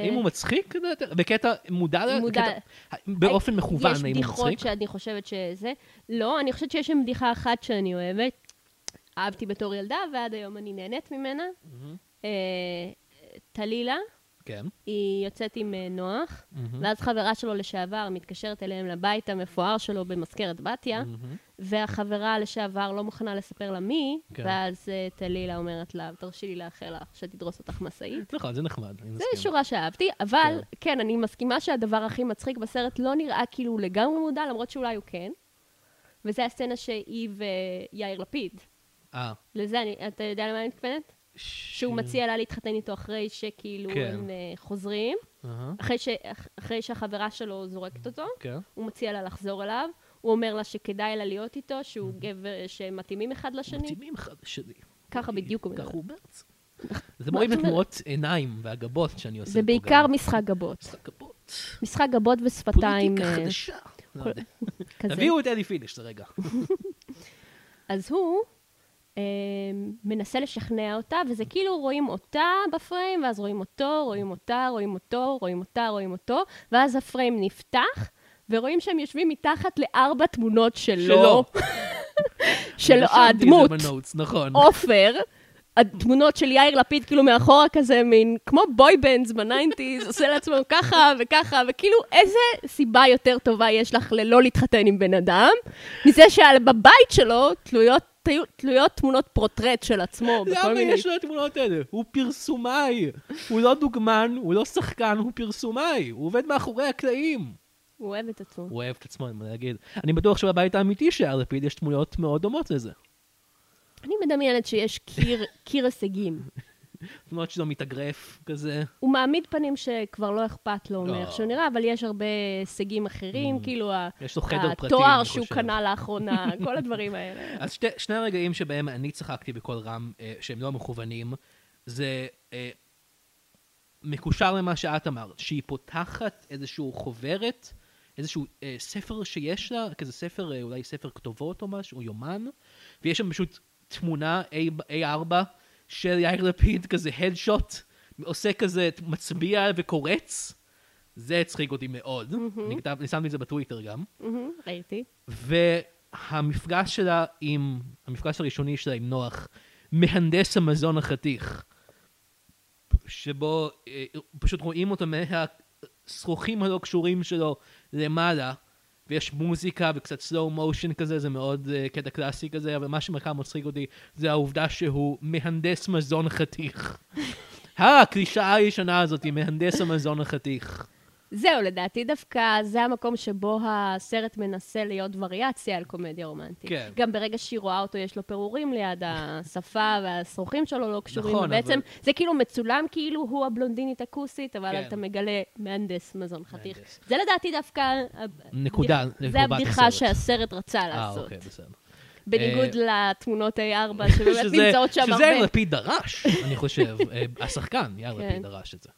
[SPEAKER 1] האם הוא מצחיק? לדעתך? בקטע מודע? ל-
[SPEAKER 2] מודע.
[SPEAKER 1] בקטע- באופן מכוון,
[SPEAKER 2] יש
[SPEAKER 1] האם הוא
[SPEAKER 2] בדיחות
[SPEAKER 1] מצחיק?
[SPEAKER 2] שאני חושבת שזה... לא, אני חושבת שיש שם בדיחה אחת שאני אוהבת. אהבתי בתור ילדה, ועד היום אני נהנית ממנה. אה, טלילה,
[SPEAKER 1] כן.
[SPEAKER 2] היא יוצאת עם אה, נוח, ואז חברה שלו לשעבר מתקשרת אליהם לבית המפואר שלו במזכרת בתיה, והחברה לשעבר לא מוכנה לספר לה מי,
[SPEAKER 1] כן.
[SPEAKER 2] ואז אה, טלילה אומרת לה, תרשי לי לאחל לך שתדרוס אותך משאית.
[SPEAKER 1] נכון, זה נחמד, אני
[SPEAKER 2] זה
[SPEAKER 1] מסכים.
[SPEAKER 2] שורה שאהבתי, אבל כן, אני מסכימה שהדבר הכי מצחיק בסרט לא נראה כאילו לגמרי מודע, למרות שאולי הוא כן. וזה הסצנה שהיא ויאיר לפיד.
[SPEAKER 1] אה.
[SPEAKER 2] לזה, אני, אתה יודע למה אני מתכוונת? שהוא מציע לה להתחתן איתו אחרי שכאילו
[SPEAKER 1] כן. אה?
[SPEAKER 2] הם אה, חוזרים,
[SPEAKER 1] אהה,
[SPEAKER 2] אחרי, ש, אח- אחרי שהחברה שלו זורקת אותו,
[SPEAKER 1] כן.
[SPEAKER 2] הוא מציע לה לחזור אליו, הוא אומר לה שכדאי לה
[SPEAKER 1] אה.
[SPEAKER 2] להיות איתו, שהוא גבר, שמתאימים אחד לשני.
[SPEAKER 1] מתאימים אחד לשני. אוקיי,
[SPEAKER 2] ככה בדיוק הוא
[SPEAKER 1] כך
[SPEAKER 2] מדבר. נכון.
[SPEAKER 1] הוא אומר. את זה. זה מורים
[SPEAKER 2] זאת אומרת?
[SPEAKER 1] לתנועות עיניים והגבות שאני עושה פה
[SPEAKER 2] זה
[SPEAKER 1] גם.
[SPEAKER 2] בעיקר משחק גבות.
[SPEAKER 1] משחק גבות.
[SPEAKER 2] משחק גבות ושפתיים
[SPEAKER 1] פוליטיקה
[SPEAKER 2] אה,
[SPEAKER 1] חדשה. לא
[SPEAKER 2] כל-
[SPEAKER 1] יודע.
[SPEAKER 2] כזה.
[SPEAKER 1] תביאו את אלי פיניש לרגע.
[SPEAKER 2] אז הוא אה, מנסה לשכנע אותה, וזה כאילו רואים אותה בפריים, ואז רואים אותו, רואים אותה, רואים אותו, רואים אותה, רואים אותו, ואז הפריים נפתח, ורואים שהם יושבים מתחת לארבע תמונות שלו, של
[SPEAKER 1] רשמתי את זה
[SPEAKER 2] הדמות,
[SPEAKER 1] בנוטס, נכון.
[SPEAKER 2] עופר. התמונות של יאיר לפיד כאילו מאחורה כזה, מין כמו בוי בנדס בניינטיז, עושה לעצמו ככה וככה, וכאילו איזה סיבה יותר טובה יש לך ללא להתחתן עם בן אדם, מזה שבבית שלו תלויות, תלו- תלויות תמונות פרוטרט של עצמו בכל
[SPEAKER 1] למה
[SPEAKER 2] מיני...
[SPEAKER 1] יש לו את התמונות האלה? הוא פרסומאי. הוא לא דוגמן, הוא לא שחקן, הוא פרסומאי. הוא עובד מאחורי הקלעים.
[SPEAKER 2] הוא אוהב את עצמו.
[SPEAKER 1] הוא אוהב את עצמו, אין מה להגיד. אני בטוח שבבית האמיתי של יאיר לפיד יש תמונות מאוד דומות לזה.
[SPEAKER 2] אני מדמיינת שיש קיר, קיר הישגים.
[SPEAKER 1] תמונות שלו מתאגרף כזה.
[SPEAKER 2] הוא מעמיד פנים שכבר לא אכפת לו
[SPEAKER 1] לא.
[SPEAKER 2] מאיך שהוא נראה, אבל יש הרבה הישגים אחרים, כאילו ה-
[SPEAKER 1] יש לו חדר פרטי,
[SPEAKER 2] התואר
[SPEAKER 1] אני
[SPEAKER 2] שהוא
[SPEAKER 1] חושב.
[SPEAKER 2] קנה לאחרונה, כל הדברים האלה.
[SPEAKER 1] אז שתי, שני הרגעים שבהם אני צחקתי בקול רם, אה, שהם לא מכוונים, זה אה, מקושר למה שאת אמרת, שהיא פותחת איזשהו חוברת, איזשהו אה, ספר שיש לה, כזה ספר, אה, אולי ספר כתובות או משהו, או יומן, ויש שם פשוט תמונה A- A4 של יאיר לפיד, כזה הדשוט, עושה כזה, מצביע וקורץ. זה הצחיק אותי מאוד, אני כתב- אני שמתי את זה בטוויטר גם.
[SPEAKER 2] מהמם, ראיתי.
[SPEAKER 1] והמפגש שלה עם, המפגש הראשוני שלה עם נוח, מהנדס המזון החתיך, שבו אה, פשוט רואים אותו מהשרוכים הלא קשורים שלו למעלה, ויש מוזיקה וקצת slow motion כזה, זה מאוד אה, קטע קלאסי כזה, אבל מה שמכאן מצחיק אותי זה העובדה שהוא מהנדס מזון חתיך. הקלישאה הישנה הזאת, מהנדס המזון החתיך.
[SPEAKER 2] זהו, לדעתי דווקא זה המקום שבו הסרט מנסה להיות וריאציה על קומדיה רומנטית.
[SPEAKER 1] כן.
[SPEAKER 2] גם ברגע שהיא רואה אותו, יש לו פירורים ליד השפה, והשרוכים שלו לא קשורים.
[SPEAKER 1] נכון,
[SPEAKER 2] נכון, בעצם
[SPEAKER 1] אבל-
[SPEAKER 2] זה כאילו מצולם כאילו הוא הבלונדינית הכוסית, אבל
[SPEAKER 1] כן.
[SPEAKER 2] אתה מגלה מהנדס מזון חתיך.
[SPEAKER 1] מהנדס.
[SPEAKER 2] זה לדעתי דווקא... הבדיח-
[SPEAKER 1] נקודה לקרבת
[SPEAKER 2] זה הבדיחה
[SPEAKER 1] הסרט.
[SPEAKER 2] שהסרט רצה
[SPEAKER 1] אה,
[SPEAKER 2] לעשות.
[SPEAKER 1] אוקיי, בסדר.
[SPEAKER 2] בניגוד לתמונות A4, שבאמת
[SPEAKER 1] שזה-
[SPEAKER 2] נמצאות שם
[SPEAKER 1] שזה לא- יאיר
[SPEAKER 2] הרבה.
[SPEAKER 1] לפיד דרש, אני חושב. אה, השחקן, יאיר לפיד
[SPEAKER 2] כן.
[SPEAKER 1] דרש את זה.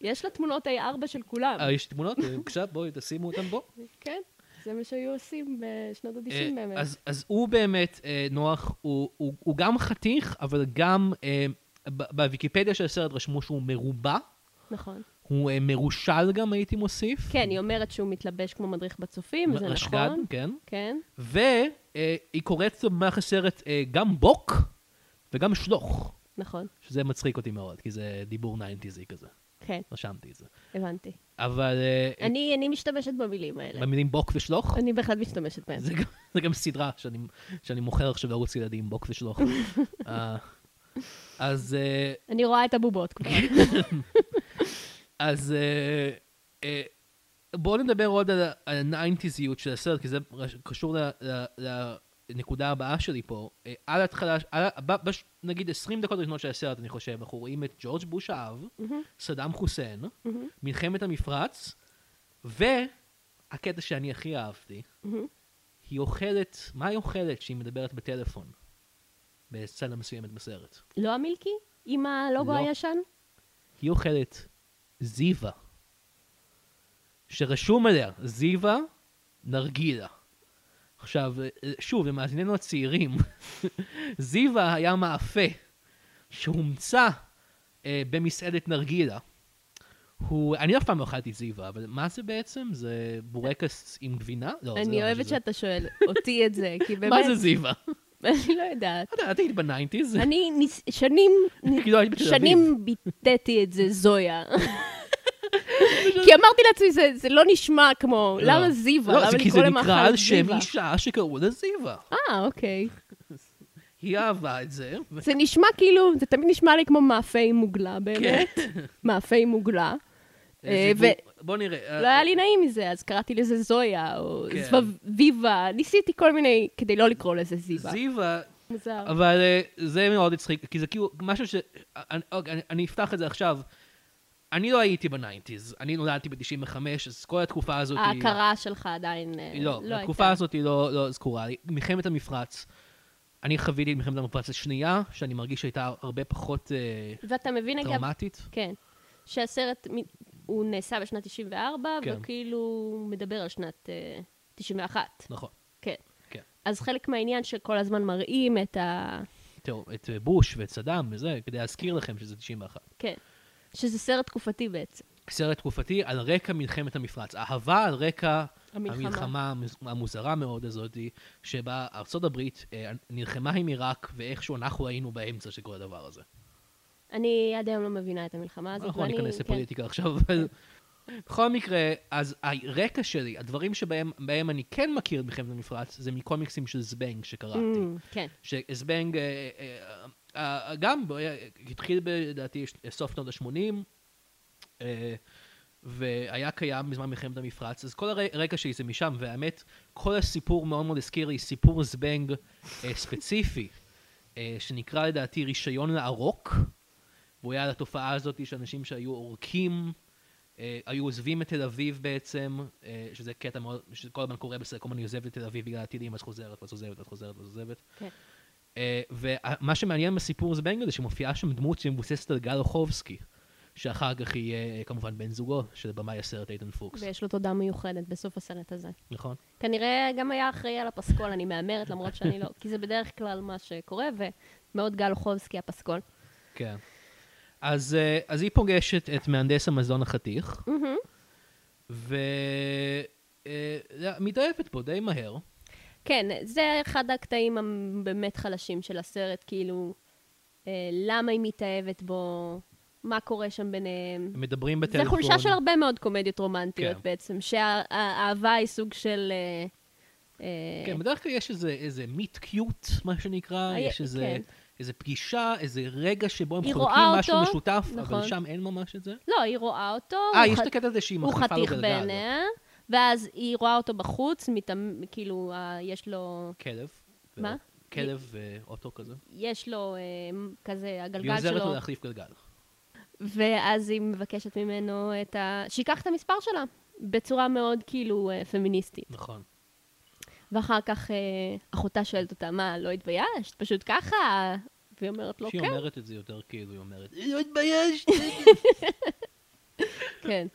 [SPEAKER 2] יש לה תמונות A4 של כולם,
[SPEAKER 1] אה, יש תמונות? אה, בבקשה, בואי תשימו אותן פה.
[SPEAKER 2] כן? זה מה שהיו עושים בשנות
[SPEAKER 1] אה,
[SPEAKER 2] ה-90 באמת.
[SPEAKER 1] אז- אז הוא באמת, אה, נוח, הוא- הוא הוא גם חתיך, אבל גם אה, ב- בוויקיפדיה של הסרט רשמו שהוא מרובע.
[SPEAKER 2] נכון.
[SPEAKER 1] הוא אה, מרושל גם, הייתי מוסיף.
[SPEAKER 2] כן, היא אומרת שהוא מתלבש כמו מדריך בצופים, זה
[SPEAKER 1] רשג"ד,
[SPEAKER 2] נכון.
[SPEAKER 1] כן.
[SPEAKER 2] כן.
[SPEAKER 1] והיא קוראת במהלך הסרט אה, גם בוק וגם שלוך,
[SPEAKER 2] נכון.
[SPEAKER 1] שזה מצחיק אותי מאוד, כי זה דיבור ניינטיזי כזה.
[SPEAKER 2] כן,
[SPEAKER 1] רשמתי את זה.
[SPEAKER 2] הבנתי.
[SPEAKER 1] אבל... אה,
[SPEAKER 2] אני אני משתמשת במילים האלה.
[SPEAKER 1] במילים בוק ושלוך?
[SPEAKER 2] אני בהחלט משתמשת בהן.
[SPEAKER 1] זה גם, זה גם סדרה שאני, שאני מוכר עכשיו לערוץ ילדים, בוק ושלוך. אה, אז, אה,
[SPEAKER 2] אני רואה את הבובות כבר.
[SPEAKER 1] אז אה, אה, בואו נדבר עוד על ה- על הניינטיזיות של הסרט, כי זה רש- קשור ל- ל- לנקודה הבאה שלי פה. אה, על ההתחלה, על ה- ב- בש- נגיד 20 דקות ראשונות של הסרט, אני חושב, אנחנו רואים את ג'ורג' בוש האב, סדאם חוסיין, מלחמת המפרץ, והקטע שאני הכי אהבתי, היא אוכלת, מה היא אוכלת שהיא מדברת בטלפון? בסצנה מסוימת בסרט.
[SPEAKER 2] לא המילקי? עם הלוגו
[SPEAKER 1] לא.
[SPEAKER 2] הישן?
[SPEAKER 1] היא אוכלת זיווה, שרשום עליה זיווה נרגילה. עכשיו, אה, שוב, למאזיננו הצעירים, זיווה היה מאפה שהומצא אה, במסעדת נרגילה. הוא, אני אף פעם לא אכלתי זיווה, אבל מה זה בעצם? זה בורקס עם גבינה? לא, זה לא
[SPEAKER 2] אני
[SPEAKER 1] מה
[SPEAKER 2] אוהבת
[SPEAKER 1] שזה.
[SPEAKER 2] שאתה שואל אותי את זה, כי באמת,
[SPEAKER 1] מה זה זיווה?
[SPEAKER 2] אני לא יודעת.
[SPEAKER 1] את יודעת, היית בניינטיז?
[SPEAKER 2] אני ניס- שנים,
[SPEAKER 1] כאילו היית בתל אביב.
[SPEAKER 2] שנים ביטאתי את זה זויה. כי אמרתי לעצמי, זה- זה לא נשמע כמו,
[SPEAKER 1] לא.
[SPEAKER 2] למה זיווה?
[SPEAKER 1] לא,
[SPEAKER 2] למה
[SPEAKER 1] זה כי זה
[SPEAKER 2] לקרוא
[SPEAKER 1] נקרא
[SPEAKER 2] למאכל
[SPEAKER 1] על שם
[SPEAKER 2] זיווה?
[SPEAKER 1] אישה שקראו לה זיווה.
[SPEAKER 2] אה, אוקיי.
[SPEAKER 1] היא אהבה את זה, ו-
[SPEAKER 2] זה נשמע כאילו, זה תמיד נשמע לי כמו מאפה עם מוגלה באמת.
[SPEAKER 1] כן.
[SPEAKER 2] מאפה עם מוגלה. אה,
[SPEAKER 1] ו...
[SPEAKER 2] ו-
[SPEAKER 1] בוא נראה.
[SPEAKER 2] לא היה לי נעים מזה, אז קראתי לזה זויה, או
[SPEAKER 1] כן.
[SPEAKER 2] זבביבה, ניסיתי כל מיני, כדי לא לקרוא לזה זיבה.
[SPEAKER 1] זיווה,
[SPEAKER 2] מוזר.
[SPEAKER 1] אה, אבל אה, זה מאוד הצחיק, כי זה כאילו משהו ש... אני- אוקיי, אני- אני אפתח את זה עכשיו. אני לא הייתי בניינטיז, אני נולדתי ב-95, אז כל התקופה הזאת... היא-
[SPEAKER 2] ההכרה שלך עדיין אה,
[SPEAKER 1] לא,
[SPEAKER 2] לא
[SPEAKER 1] התקופה
[SPEAKER 2] הייתה.
[SPEAKER 1] הזאת היא לא לא זכורה לי. מלחמת המפרץ. אני חוויתי את מלחמת המפרץ השנייה, שאני מרגיש שהייתה הרבה פחות אה,
[SPEAKER 2] ואתה מבין, אגב,
[SPEAKER 1] טראומטית.
[SPEAKER 2] כן, שהסרט, מ- הוא נעשה בשנת 94,
[SPEAKER 1] כן.
[SPEAKER 2] וכאילו הוא מדבר על שנת אה, 91.
[SPEAKER 1] נכון,
[SPEAKER 2] כן.
[SPEAKER 1] כן.
[SPEAKER 2] אז חלק מהעניין שכל הזמן מראים את ה...
[SPEAKER 1] תראו, את אה, בוש ואת סדאם וזה, כדי להזכיר לכם שזה 91.
[SPEAKER 2] כן. שזה סרט תקופתי בעצם.
[SPEAKER 1] סרט תקופתי על רקע מלחמת המפרץ. אהבה על רקע
[SPEAKER 2] המלחמה.
[SPEAKER 1] המלחמה המז- המוזרה מאוד הזאת, שבה ארצות הברית אה, נלחמה עם עיראק, ואיכשהו אנחנו היינו באמצע של כל הדבר הזה.
[SPEAKER 2] אני עד היום לא מבינה את המלחמה הזאת.
[SPEAKER 1] אנחנו לא
[SPEAKER 2] ואני-
[SPEAKER 1] ניכנס
[SPEAKER 2] כן.
[SPEAKER 1] לפוליטיקה עכשיו, אבל... בכל מקרה, אז הרקע שלי, הדברים שבהם בהם אני כן מכיר את מלחמת המפרץ, זה מקומיקסים של זבנג שקראתי.
[SPEAKER 2] אמ, כן.
[SPEAKER 1] שזבנג אה, אה, אה, גם בו היה- התחיל לדעתי ש- סוף שנות ה-80, והיה קיים בזמן מלחמת המפרץ, אז כל הר- הרקע שלי זה משם, והאמת, כל הסיפור מאוד מאוד הזכיר לי סיפור זבנג אה, ספציפי, אה, שנקרא לדעתי רישיון לערוק, והוא היה על התופעה הזאת שאנשים שהיו עורקים, אה, היו עוזבים את תל אביב בעצם, אה, שזה קטע מאוד, שכל הזמן קורה בסרט, כל הזמן היא עוזבת את תל אביב בגלל הטילים, אז חוזרת, ואז עוזבת, אז חוזרת, ואז עוזבת.
[SPEAKER 2] כן.
[SPEAKER 1] אה, ומה שמעניין בסיפור הזה בנגל זה שמופיעה שם דמות שמבוססת על גל אוחובסקי, שאחר כך יהיה אה, כמובן בן זוגו של במאי הסרט איתן פוקס,
[SPEAKER 2] ויש לו תודה מיוחדת בסוף הסרט הזה.
[SPEAKER 1] נכון?
[SPEAKER 2] כנראה גם היה אחראי על הפסקול, אני מהמרת, למרות שאני לא... כי זה בדרך כלל מה שקורה, ומאוד גל אוחובסקי הפסקול.
[SPEAKER 1] כן. אז, אה, אז היא פוגשת את מהנדס המזון החתיך, ומתאהבת אה, בו די מהר.
[SPEAKER 2] כן, זה אחד הקטעים הבאמת חלשים של הסרט, כאילו, אה, למה היא מתאהבת בו, מה קורה שם ביניהם.
[SPEAKER 1] הם מדברים
[SPEAKER 2] זה
[SPEAKER 1] בטלפון.
[SPEAKER 2] חולשה של הרבה מאוד קומדיות רומנטיות
[SPEAKER 1] כן.
[SPEAKER 2] בעצם, שהאהבה היא סוג של... אה, אה,
[SPEAKER 1] כן, בדרך כלל יש איזה, איזה מיט קיוט, מה שנקרא,
[SPEAKER 2] אה,
[SPEAKER 1] יש איזה,
[SPEAKER 2] כן.
[SPEAKER 1] איזה פגישה, איזה רגע שבו הם
[SPEAKER 2] היא
[SPEAKER 1] חולקים
[SPEAKER 2] רואה
[SPEAKER 1] משהו
[SPEAKER 2] אותו,
[SPEAKER 1] משותף, אבל
[SPEAKER 2] נכון.
[SPEAKER 1] שם אין ממש את זה.
[SPEAKER 2] לא, היא רואה אותו,
[SPEAKER 1] אה,
[SPEAKER 2] הוא
[SPEAKER 1] יש
[SPEAKER 2] ח-
[SPEAKER 1] את הקטע הזה שהיא
[SPEAKER 2] הוא
[SPEAKER 1] מחליפה לו
[SPEAKER 2] חתיך
[SPEAKER 1] גלגל.
[SPEAKER 2] בעיניה,
[SPEAKER 1] לא?
[SPEAKER 2] ואז היא רואה אותו בחוץ, מתאמ- כאילו, אה, יש לו...
[SPEAKER 1] כלב. ו-
[SPEAKER 2] מה?
[SPEAKER 1] כלב ואוטו כזה.
[SPEAKER 2] יש לו אה, כזה,
[SPEAKER 1] היא
[SPEAKER 2] הגלגל
[SPEAKER 1] עוזרת לו
[SPEAKER 2] שלו,
[SPEAKER 1] להחליף גלגל.
[SPEAKER 2] ואז היא מבקשת ממנו את ה... שייקח את המספר שלה, בצורה מאוד כאילו אה, פמיניסטית.
[SPEAKER 1] נכון.
[SPEAKER 2] ואחר כך אה, אחותה שואלת אותה, מה, לא התביישת? פשוט ככה? והיא אומרת לו,
[SPEAKER 1] שהיא
[SPEAKER 2] כן,
[SPEAKER 1] אומרת את זה יותר כאילו, היא אומרת, לא התביישת.
[SPEAKER 2] כן.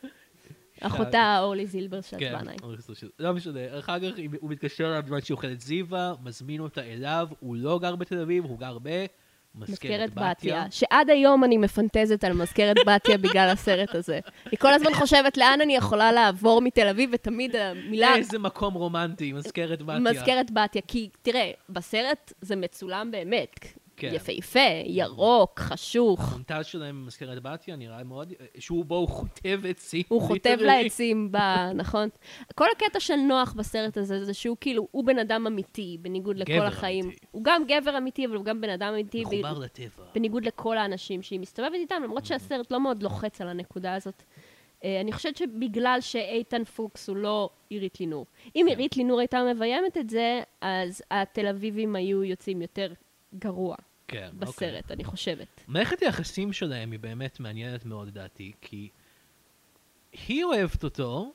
[SPEAKER 2] אחותה אורלי זילבר שעצבנאי.
[SPEAKER 1] כן, אוריס רשת. לא משנה. אחר כך אם הוא מתקשר אליו בזמן שהיא אוכלת זיווה, מזמין אותה אליו, הוא לא גר בתל אביב, הוא גר
[SPEAKER 2] מזכרת
[SPEAKER 1] במזכרת בתיה.
[SPEAKER 2] בתיה, שעד היום אני מפנטזת על מזכרת בתיה בגלל הסרט הזה. אני כל הזמן חושבת לאן אני יכולה לעבור מתל אביב, ותמיד המילה
[SPEAKER 1] איזה מקום רומנטי, מזכרת בתיה.
[SPEAKER 2] מזכרת בתיה. כי תראה, בסרט זה מצולם באמת.
[SPEAKER 1] כן. נכון.
[SPEAKER 2] יפהפה, ירוק, חשוך.
[SPEAKER 1] המונטז שלהם במזכרת בתיה נראה מאוד, שהוא בו הוא חוטב עצים.
[SPEAKER 2] הוא חוטב
[SPEAKER 1] literally.
[SPEAKER 2] לעצים, ב... נכון? כל הקטע של נוח בסרט הזה, זה שהוא כאילו, הוא בן אדם אמיתי, בניגוד
[SPEAKER 1] גבר
[SPEAKER 2] לכל החיים.
[SPEAKER 1] אמיתי.
[SPEAKER 2] הוא גם גבר אמיתי, אבל הוא גם בן אדם אמיתי, ב-
[SPEAKER 1] מחובר לטבע.
[SPEAKER 2] בניגוד לכל האנשים שהיא מסתובבת איתם, למרות שהסרט לא מאוד לוחץ על הנקודה הזאת. אה, אני חושבת שבגלל שאיתן פוקס הוא לא עירית לינור.
[SPEAKER 1] כן.
[SPEAKER 2] אם עירית לינור הייתה מביימת את זה, אז התל אביבים היו יוצאים יותר גרוע
[SPEAKER 1] כן, אוקיי.
[SPEAKER 2] בסרט, אני חושבת.
[SPEAKER 1] מערכת היחסים שלהם היא באמת מעניינת מאוד לדעתי, כי היא אוהבת אותו,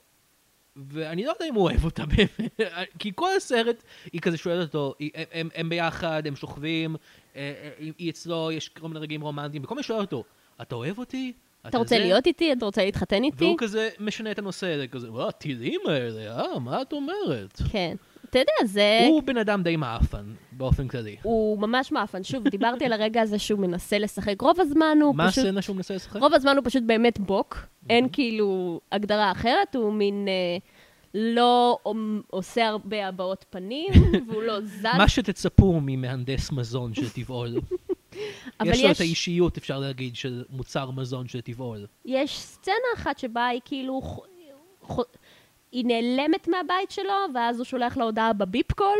[SPEAKER 1] ואני לא יודע אם הוא אוהב אותה באמת, כי כל הסרט, היא כזה שואלת אותו, היא- הם, הם, הם ביחד, הם שוכבים, אה, אה, היא היא אצלו, יש כל מיני רגעים רומנטיים, וכל מיני שואל אותו, אתה אוהב אותי?
[SPEAKER 2] אתה רוצה
[SPEAKER 1] זה?"
[SPEAKER 2] להיות איתי? אתה רוצה להתחתן איתי?
[SPEAKER 1] והוא כזה משנה את הנושא, זה כזה, "וואו, הטילים האלה, אה, מה את אומרת?
[SPEAKER 2] כן. אתה יודע, זה...
[SPEAKER 1] הוא בן אדם די מעפן, באופן כללי.
[SPEAKER 2] הוא ממש מאפן. שוב, דיברתי על הרגע הזה שהוא מנסה לשחק. רוב הזמן הוא
[SPEAKER 1] מה
[SPEAKER 2] פשוט...
[SPEAKER 1] הסצנה שהוא מנסה לשחק?
[SPEAKER 2] רוב הזמן הוא פשוט באמת בוק.
[SPEAKER 1] Mhm.
[SPEAKER 2] אין כאילו הגדרה אחרת, הוא מין... אה, לא עומ- עושה הרבה הבעות פנים, והוא לא זז.
[SPEAKER 1] מה שתצפו ממהנדס מזון של טבעול.
[SPEAKER 2] אבל
[SPEAKER 1] יש לו את
[SPEAKER 2] יש-
[SPEAKER 1] האישיות, אפשר להגיד, של מוצר מזון של טבעול.
[SPEAKER 2] יש סצנה אחת שבה היא כאילו... ח- ח- היא נעלמת מהבית שלו, ואז הוא שולח לה הודעה בביפ קול.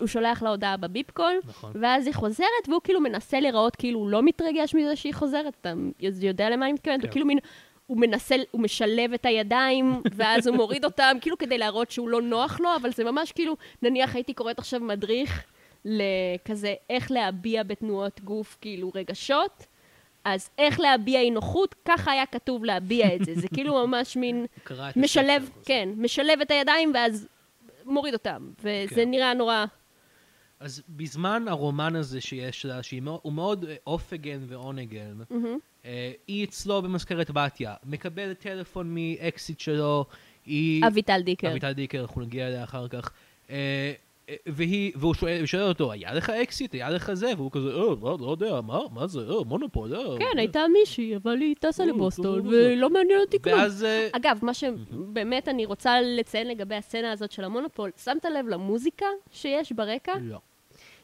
[SPEAKER 2] הוא שולח לה הודעה בביפ קול,
[SPEAKER 1] Mm-hmm. נכון.
[SPEAKER 2] ואז היא חוזרת, והוא כאילו מנסה להיראות כאילו הוא לא מתרגש מזה שהיא חוזרת. אתה יודע למה אני מתכוונת?
[SPEAKER 1] כן.
[SPEAKER 2] הוא כאילו מין... הוא מנסה, הוא משלב את הידיים, ואז הוא מוריד אותם, כאילו כדי להראות שהוא לא נוח לו, אבל זה ממש כאילו, נניח הייתי קוראת עכשיו מדריך לכזה, איך להביע בתנועות גוף, כאילו, רגשות, אז איך להביע אי נוחות, ככה היה כתוב להביע את זה. זה כאילו ממש מין...
[SPEAKER 1] הוא קרא את
[SPEAKER 2] משלב,
[SPEAKER 1] הספר.
[SPEAKER 2] כן, משלב את הידיים ואז מוריד אותם, וזה
[SPEAKER 1] כן.
[SPEAKER 2] נראה נורא...
[SPEAKER 1] אז בזמן הרומן הזה שיש לה, שהוא מאוד אה, אופגן ואונגן, אה, היא אצלו במזכרת בתיה, מקבלת טלפון מאקסיט שלו, היא...
[SPEAKER 2] אביטל דיקר.
[SPEAKER 1] אביטל דיקר, אנחנו נגיע אליה אחר כך. אה, אה, והיא, והוא שואל, הוא שואל אותו, היה לך אקסיט? היה לך זה? והוא כזה, אה, לא, לא יודע, מה, מה זה, אה, מונופול, אה.
[SPEAKER 2] כן, הייתה מישהי, אבל היא טסה
[SPEAKER 1] אה,
[SPEAKER 2] לבוסטון,
[SPEAKER 1] טוב,
[SPEAKER 2] ולא מעניין אותי כלום.
[SPEAKER 1] ואז, אה,
[SPEAKER 2] אגב, מה שבאמת אני רוצה לציין לגבי הסצנה הזאת של המונופול, שמת לב למוזיקה שיש ברקע?
[SPEAKER 1] לא.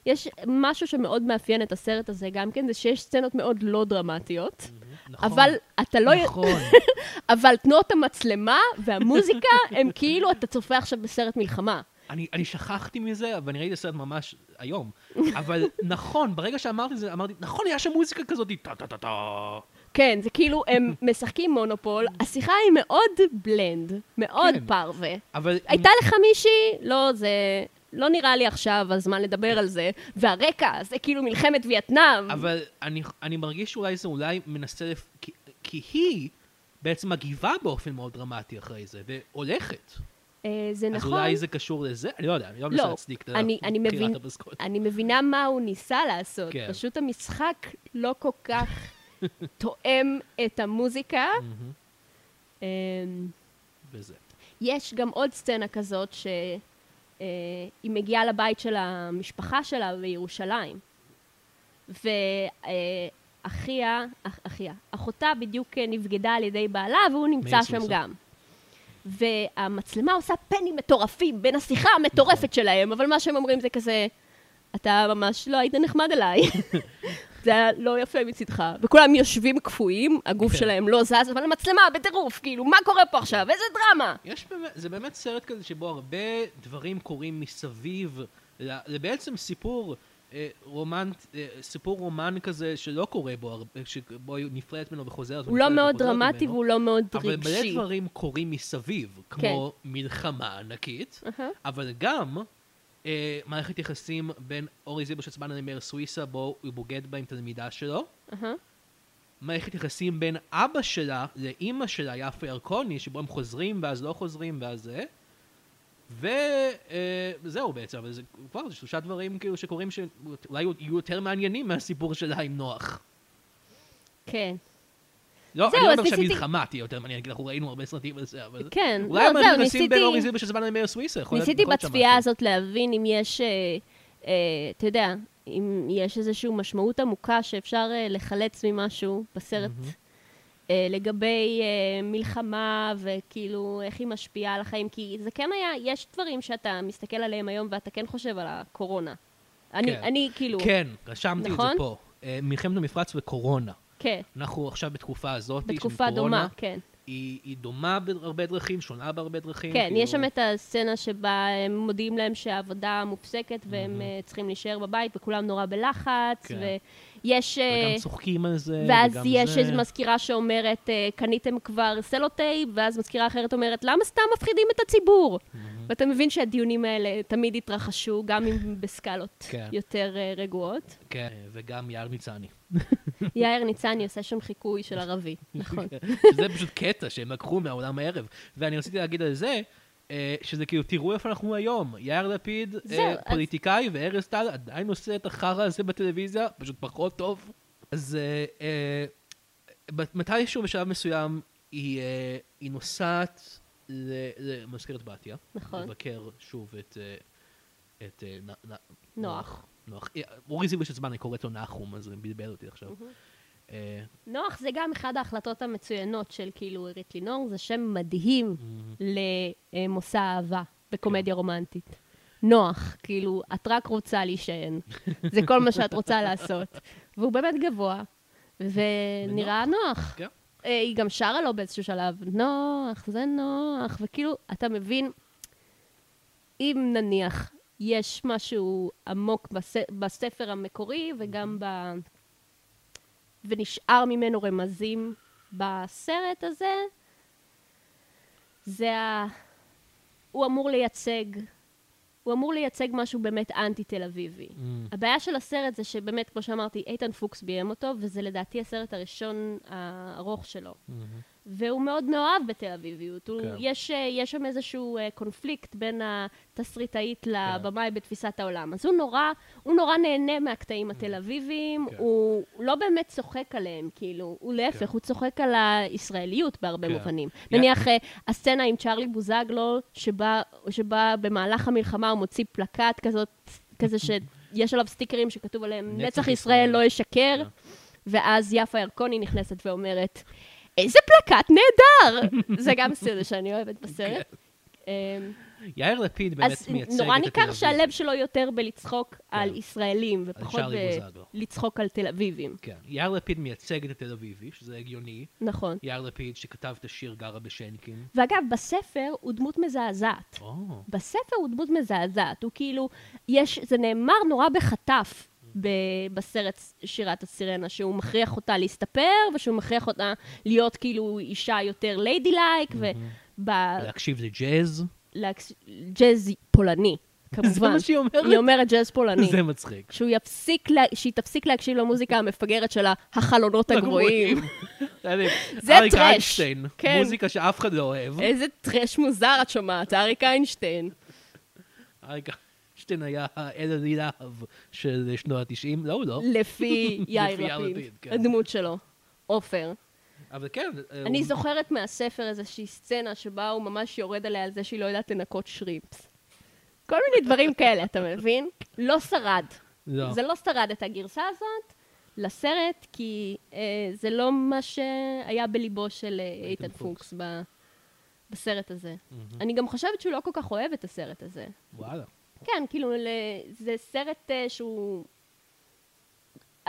[SPEAKER 2] יש משהו שמאוד מאפיין את הסרט הזה גם כן, זה שיש סצנות מאוד לא דרמטיות,
[SPEAKER 1] נכון,
[SPEAKER 2] אבל אתה לא...
[SPEAKER 1] נכון.
[SPEAKER 2] אבל תנועות המצלמה והמוזיקה הם כאילו אתה צופה עכשיו בסרט מלחמה.
[SPEAKER 1] אני, אני שכחתי מזה, ואני ראיתי את הסרט ממש היום. אבל נכון, ברגע שאמרתי את זה, אמרתי, נכון, היה שם מוזיקה כזאת, טה-טה-טה-טה.
[SPEAKER 2] כן, זה כאילו הם משחקים מונופול, השיחה היא מאוד בלנד, מאוד
[SPEAKER 1] כן.
[SPEAKER 2] פרווה.
[SPEAKER 1] אבל...
[SPEAKER 2] הייתה לך מישהי? לא, זה... לא נראה לי עכשיו הזמן לדבר על זה. והרקע, זה כאילו מלחמת וייטנאם.
[SPEAKER 1] אבל אני, אני מרגיש שאולי זה אולי מנסה... לפ... כי, כי היא בעצם מגיבה באופן מאוד דרמטי אחרי זה, והולכת.
[SPEAKER 2] אה, זה
[SPEAKER 1] אז
[SPEAKER 2] נכון.
[SPEAKER 1] אולי זה קשור לזה? אני לא יודע, אני לא מנסה
[SPEAKER 2] לא,
[SPEAKER 1] להצדיק את
[SPEAKER 2] אני- אני
[SPEAKER 1] בחירת
[SPEAKER 2] מבין-
[SPEAKER 1] הפסקול.
[SPEAKER 2] אני מבינה מה הוא ניסה לעשות,
[SPEAKER 1] כן.
[SPEAKER 2] פשוט המשחק לא כל כך תואם את המוזיקה.
[SPEAKER 1] מהמם,
[SPEAKER 2] אה,
[SPEAKER 1] וזה.
[SPEAKER 2] יש גם עוד סצנה כזאת שהיא מגיעה לבית של המשפחה שלה בירושלים. ואחיה, אחיה, אחותה בדיוק אה, נבגדה על ידי בעלה והוא נמצא
[SPEAKER 1] מאיר
[SPEAKER 2] שם
[SPEAKER 1] סומסום.
[SPEAKER 2] גם. והמצלמה עושה פנים מטורפים בין השיחה המטורפת שלהם, אבל מה שהם אומרים זה כזה, אתה ממש לא היית נחמד אליי. זה היה לא יפה מצידך. וכולם יושבים קפואים, הגוף
[SPEAKER 1] כן.
[SPEAKER 2] שלהם לא זז, אבל המצלמה בטירוף, כאילו, מה קורה פה עכשיו? איזה דרמה!
[SPEAKER 1] יש באמת, זה באמת סרט כזה שבו הרבה דברים קורים מסביב, ל- זה בעצם סיפור אה, רומן, אה, סיפור רומן כזה שלא קורה בו הרבה, שבו היא נפרדת ממנו וחוזרת.
[SPEAKER 2] הוא לא
[SPEAKER 1] ונפרדת
[SPEAKER 2] מאוד
[SPEAKER 1] וחוזרת
[SPEAKER 2] דרמטי
[SPEAKER 1] ממנו,
[SPEAKER 2] והוא לא מאוד
[SPEAKER 1] אבל מלא
[SPEAKER 2] רגשי. כן.
[SPEAKER 1] דברים קורים מסביב, כמו מלחמה ענקית,
[SPEAKER 2] אהה.
[SPEAKER 1] אבל גם אה, מערכת יחסים בין אורי זילברשצמן למאיר סוויסה, בו הוא בוגד בה עם תלמידה שלו.
[SPEAKER 2] אהה.
[SPEAKER 1] מערכת יחסים בין אבא שלה לאימא שלה, יפה ירקוני, שבו הם חוזרים ואז לא חוזרים ואז זה. וזהו בעצם, אבל זה כבר זה שלושה דברים כאילו שקורים שאולי יהיו יותר מעניינים מהסיפור שלה עם נוח.
[SPEAKER 2] כן.
[SPEAKER 1] לא,
[SPEAKER 2] זהו,
[SPEAKER 1] אני לא
[SPEAKER 2] אז
[SPEAKER 1] אומר
[SPEAKER 2] ניסיתי-
[SPEAKER 1] שהמלחמה תהיה יותר מעניינת, כי אנחנו ראינו הרבה סרטים על זה, אבל...
[SPEAKER 2] כן,
[SPEAKER 1] אולי
[SPEAKER 2] לא,
[SPEAKER 1] הם
[SPEAKER 2] זהו,
[SPEAKER 1] מנסים בין
[SPEAKER 2] ניסיתי-
[SPEAKER 1] אורי זילבר של זמן למאיר סוויסה. יכול להיות-
[SPEAKER 2] ניסיתי
[SPEAKER 1] יכול להיות שם
[SPEAKER 2] בצפייה
[SPEAKER 1] משהו.
[SPEAKER 2] הזאת להבין אם יש, אה, אה, אתה יודע, אם יש איזושהי משמעות עמוקה שאפשר אה, לחלץ ממשהו בסרט אה, לגבי אה, מלחמה וכאילו איך היא משפיעה על החיים, כי זה כן היה, יש דברים שאתה מסתכל עליהם היום ואתה כן חושב על הקורונה. אני,
[SPEAKER 1] כן.
[SPEAKER 2] אני כאילו,
[SPEAKER 1] כן, רשמתי את זה
[SPEAKER 2] נכון?
[SPEAKER 1] פה. אה, מלחמת המפרץ וקורונה.
[SPEAKER 2] כן,
[SPEAKER 1] אנחנו עכשיו בתקופה הזאת, של
[SPEAKER 2] בתקופה
[SPEAKER 1] קורונה.
[SPEAKER 2] דומה, כן.
[SPEAKER 1] היא, היא דומה בהרבה דרכים, שונה בהרבה דרכים.
[SPEAKER 2] כן,
[SPEAKER 1] כאילו-
[SPEAKER 2] יש שם את הסצנה שבה הם מודיעים להם שהעבודה מופסקת והם אה, צריכים להישאר בבית וכולם נורא בלחץ,
[SPEAKER 1] כן.
[SPEAKER 2] ויש... אה,
[SPEAKER 1] וגם צוחקים על זה,
[SPEAKER 2] ואז
[SPEAKER 1] וגם
[SPEAKER 2] יש
[SPEAKER 1] זה.
[SPEAKER 2] איזו מזכירה שאומרת, אה, קניתם כבר סלוטייפ, ואז מזכירה אחרת אומרת, למה סתם מפחידים את הציבור? ואתה מבין שהדיונים האלה תמיד התרחשו, גם אם בסקלות
[SPEAKER 1] כן.
[SPEAKER 2] יותר אה, רגועות.
[SPEAKER 1] כן, וגם יעל ניצני.
[SPEAKER 2] יאיר ניצני עושה שם חיקוי של ערבי, נכון.
[SPEAKER 1] כן. שזה פשוט קטע שהם לקחו מהעולם הערב. ואני רציתי להגיד על זה, אה, שזה כאילו, תראו איפה אנחנו היום. יאיר לפיד, אה,
[SPEAKER 2] זהו, אז-
[SPEAKER 1] פוליטיקאי, וארז טל עדיין עושה את החרא הזה בטלוויזיה, פשוט פחות טוב. אז אה, אה, בת- מתישהו בשלב מסוים, היא אה, היא נוסעת ל- למזכרת בתיה.
[SPEAKER 2] נכון.
[SPEAKER 1] לבקר שוב את... אה, את אה, נ- נ-
[SPEAKER 2] נוח.
[SPEAKER 1] נוח. אה, אורי זיו יש זמן, אני קוראת לו נחום, אז זה בלבל אותי עכשיו. אה,
[SPEAKER 2] נוח זה גם אחת ההחלטות המצוינות של כאילו עירית לינור, זה שם מדהים למושא אהבה בקומדיה רומנטית. נוח, כאילו, את רק רוצה להישען. זה כל מה שאת רוצה לעשות. והוא באמת גבוה, ונראה נוח.
[SPEAKER 1] כן.
[SPEAKER 2] אה, היא גם שרה לו באיזשהו שלב, נוח, זה נוח, וכאילו, אתה מבין, אם נניח יש משהו עמוק בס... בספר המקורי וגם ב... ונשאר ממנו רמזים בסרט הזה, זה ה... הוא אמור לייצג, הוא אמור לייצג משהו באמת אנטי-תל אביבי.
[SPEAKER 1] Mm.
[SPEAKER 2] הבעיה של הסרט זה שבאמת, כמו שאמרתי, איתן פוקס ביים אותו, וזה לדעתי הסרט הראשון הארוך שלו. והוא מאוד מאוהב בתל אביביות. הוא,
[SPEAKER 1] כן.
[SPEAKER 2] יש, אה, יש שם איזשהו אה, קונפליקט בין התסריטאית
[SPEAKER 1] כן.
[SPEAKER 2] לבמאי בתפיסת העולם. אז הוא נורא, הוא נורא נהנה מהקטעים התל אביביים,
[SPEAKER 1] Mm. כן.
[SPEAKER 2] הוא לא באמת צוחק עליהם, כאילו, הוא להפך, הוא צוחק על הישראליות בהרבה
[SPEAKER 1] כן.
[SPEAKER 2] מובנים.
[SPEAKER 1] יא-
[SPEAKER 2] נניח אה, הסצנה עם צ'ארלי בוזגלו, שבה, שבה במהלך המלחמה הוא מוציא פלקט כזאת, כזה שיש עליו סטיקרים שכתוב עליהם,
[SPEAKER 1] נצח
[SPEAKER 2] נצח
[SPEAKER 1] ישראל." כן.
[SPEAKER 2] ישראל לא ישקר, ואז יפה ירקוני נכנסת ואומרת, איזה פלקט נהדר! זה גם סצנה שאני אוהבת בסרט. אמ,
[SPEAKER 1] יאיר לפיד כן. באמת
[SPEAKER 2] אז
[SPEAKER 1] מייצג את התל אביב. כן.
[SPEAKER 2] נורא ניכר שהלב שלו יותר בלצחוק על ישראלים, ופחות
[SPEAKER 1] צ'ארלי בוזגלו.
[SPEAKER 2] בלצחוק על תל אביבים.
[SPEAKER 1] כן. יאיר לפיד מייצג את התל אביבי, שזה הגיוני.
[SPEAKER 2] נכון.
[SPEAKER 1] יאיר לפיד שכתב את השיר גרה בשנקין.
[SPEAKER 2] ואגב, בספר הוא דמות מזעזעת.
[SPEAKER 1] או,
[SPEAKER 2] בספר הוא דמות מזעזעת, הוא כאילו, יש, זה נאמר נורא בחטף ב, בסרט שירת הסירנה, שהוא מכריח אותה להסתפר, ושהוא מכריח אותה להיות כאילו אישה יותר ליידי לייק,
[SPEAKER 1] להקשיב לג'אז.
[SPEAKER 2] ובג'אז פולני, כמובן.
[SPEAKER 1] זה מה שהיא
[SPEAKER 2] היא
[SPEAKER 1] אומרת.
[SPEAKER 2] אומרת ג'אז פולני.
[SPEAKER 1] זה מצחיק.
[SPEAKER 2] שהוא יפסיק, לה, שהיא תפסיק להקשיב למוזיקה המפגרת שלה, החלונות הגרועים. זה
[SPEAKER 1] אריק
[SPEAKER 2] טראש.
[SPEAKER 1] איינשטיין,
[SPEAKER 2] כן.
[SPEAKER 1] מוזיקה שאף אחד לא אוהב.
[SPEAKER 2] איזה טרש מוזר את שומעת, אריק איינשטיין.
[SPEAKER 1] אריק איינשטיין היה האל הלהב של שנות ה-90, לא, הוא לא.
[SPEAKER 2] לפי
[SPEAKER 1] לפי יאיר
[SPEAKER 2] יאיר
[SPEAKER 1] לפיד,
[SPEAKER 2] לפיד,
[SPEAKER 1] כן.
[SPEAKER 2] הדמות שלו, עופר.
[SPEAKER 1] אבל כן, אה,
[SPEAKER 2] אני
[SPEAKER 1] הוא-
[SPEAKER 2] זוכרת מהספר איזושהי סצנה שבה הוא ממש יורד עליה על זה שהיא לא יודעת לנקות שרימפס. כל מיני דברים כאלה, אתה מבין? לא שרד.
[SPEAKER 1] לא.
[SPEAKER 2] זה לא שרד את הגרסה הזאת לסרט, כי אה, זה לא מה שהיה בליבו של אה,
[SPEAKER 1] איתן
[SPEAKER 2] איתן
[SPEAKER 1] פוקס.
[SPEAKER 2] פוקס ב- בסרט הזה. אני גם חושבת שהוא לא כל כך אוהב את הסרט הזה.
[SPEAKER 1] וואלה.
[SPEAKER 2] כן, כאילו, ל- זה סרט אה, שהוא...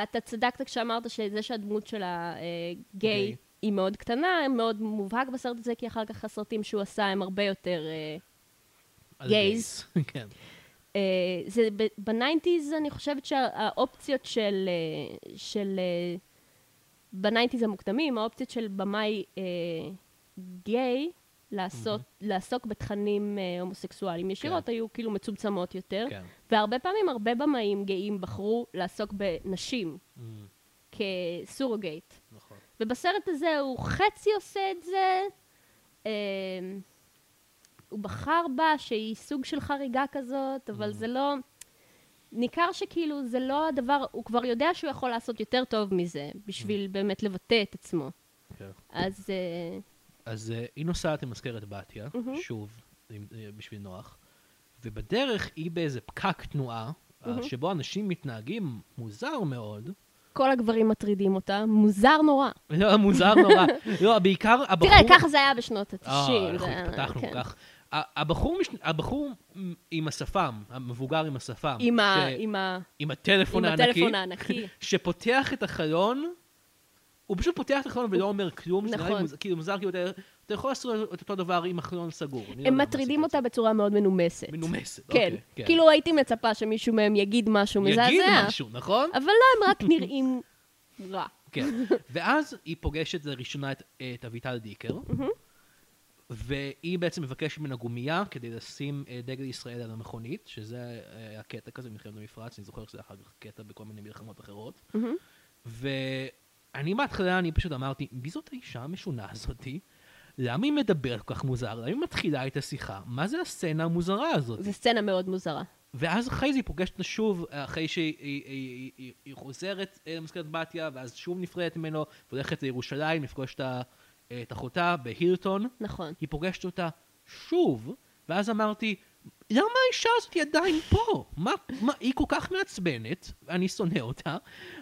[SPEAKER 2] אתה צדקת כשאמרת שזה שהדמות של הגיי
[SPEAKER 1] גיי.
[SPEAKER 2] היא מאוד קטנה, הם מאוד מובהק בסרט הזה, כי אחר כך הסרטים שהוא עשה הם הרבה יותר... אה,
[SPEAKER 1] על
[SPEAKER 2] גייז.
[SPEAKER 1] גייז. כן.
[SPEAKER 2] אה, זה ב- בניינטיז, אני חושבת שהאופציות של... אה, של אה, בניינטיז המוקדמים, האופציות של במאי אה, גיי לעשות, לעסוק בתכנים אה, הומוסקסואליים ישירות היו כאילו מצומצמות יותר.
[SPEAKER 1] כן.
[SPEAKER 2] והרבה פעמים הרבה במאים גאים בחרו לעסוק בנשים כסורוגייט.
[SPEAKER 1] נכון.
[SPEAKER 2] ובסרט הזה הוא חצי עושה את זה, אה, הוא בחר בה שהיא סוג של חריגה כזאת,
[SPEAKER 1] Mm.
[SPEAKER 2] אבל זה לא... ניכר שכאילו זה לא הדבר, הוא כבר יודע שהוא יכול לעשות יותר טוב מזה, בשביל
[SPEAKER 1] Mm.
[SPEAKER 2] באמת לבטא את עצמו.
[SPEAKER 1] כן.
[SPEAKER 2] אז אה,
[SPEAKER 1] אז אה, היא נוסעת למזכרת בתיה, שוב, עם- אה, בשביל נוח, ובדרך היא באיזה פקק תנועה, אה, שבו אנשים מתנהגים מוזר מאוד.
[SPEAKER 2] כל הגברים מטרידים אותה, מוזר נורא.
[SPEAKER 1] לא, מוזר נורא. לא, בעיקר הבחור...
[SPEAKER 2] תראה, ככה זה כן. היה בשנות ה-90.
[SPEAKER 1] אה, אנחנו התפתחנו כך. ה- הבחור, מש- הבחור מ- עם השפם, המבוגר עם השפם,
[SPEAKER 2] עם ה-
[SPEAKER 1] ש-
[SPEAKER 2] עם ה...
[SPEAKER 1] עם הטלפון
[SPEAKER 2] עם
[SPEAKER 1] הענקי, לא
[SPEAKER 2] הטלפון הענקי.
[SPEAKER 1] שפותח את החלון, הוא פשוט פותח את החלון ולא אומר כלום, שזה נראה לי
[SPEAKER 2] נכון.
[SPEAKER 1] מוזר- כאילו מוזר, כאילו אתה- אתה יכול לעשות את אותו דבר עם החלון סגור. אני לא
[SPEAKER 2] הם
[SPEAKER 1] יודע מה
[SPEAKER 2] מטרידים
[SPEAKER 1] הסיפור.
[SPEAKER 2] אותה בצורה מאוד מנומסת.
[SPEAKER 1] מנומסת,
[SPEAKER 2] כן.
[SPEAKER 1] אוקיי. כן.
[SPEAKER 2] כאילו הייתי מצפה שמישהו מהם יגיד משהו מזעזע.
[SPEAKER 1] יגיד משהו, נכון?
[SPEAKER 2] אבל לא, הם רק נראים רע.
[SPEAKER 1] כן. ואז היא פוגשת לראשונה את, את אביטל דיקר, והיא בעצם מבקשת ממנה גומייה כדי לשים אה, דגל ישראל על המכונית, שזה אה, הקטע כזה במלחמת המפרץ, אני זוכר שזה אחר כך קטע בכל מיני מלחמות אחרות. ואני בהתחלה, אני פשוט אמרתי, מי זאת האישה המשונה הזאתי? למה היא מדברת כל כך מוזר? למה היא מתחילה את השיחה? מה זה הסצנה המוזרה הזאת?
[SPEAKER 2] זו סצנה מאוד מוזרה.
[SPEAKER 1] ואז אחרי זה היא פוגשת אותו שוב, אחרי שהיא היא- היא- היא- היא חוזרת אה, למזכרת בתיה, ואז שוב נפרדת ממנו, והולכת לירושלים לפגוש את ה- אה, את אחותה בהילטון.
[SPEAKER 2] נכון.
[SPEAKER 1] היא פוגשת אותה שוב, ואז אמרתי, למה האישה הזאת היא עדיין פה? מה, מה, היא כל כך מעצבנת, אני שונא אותה,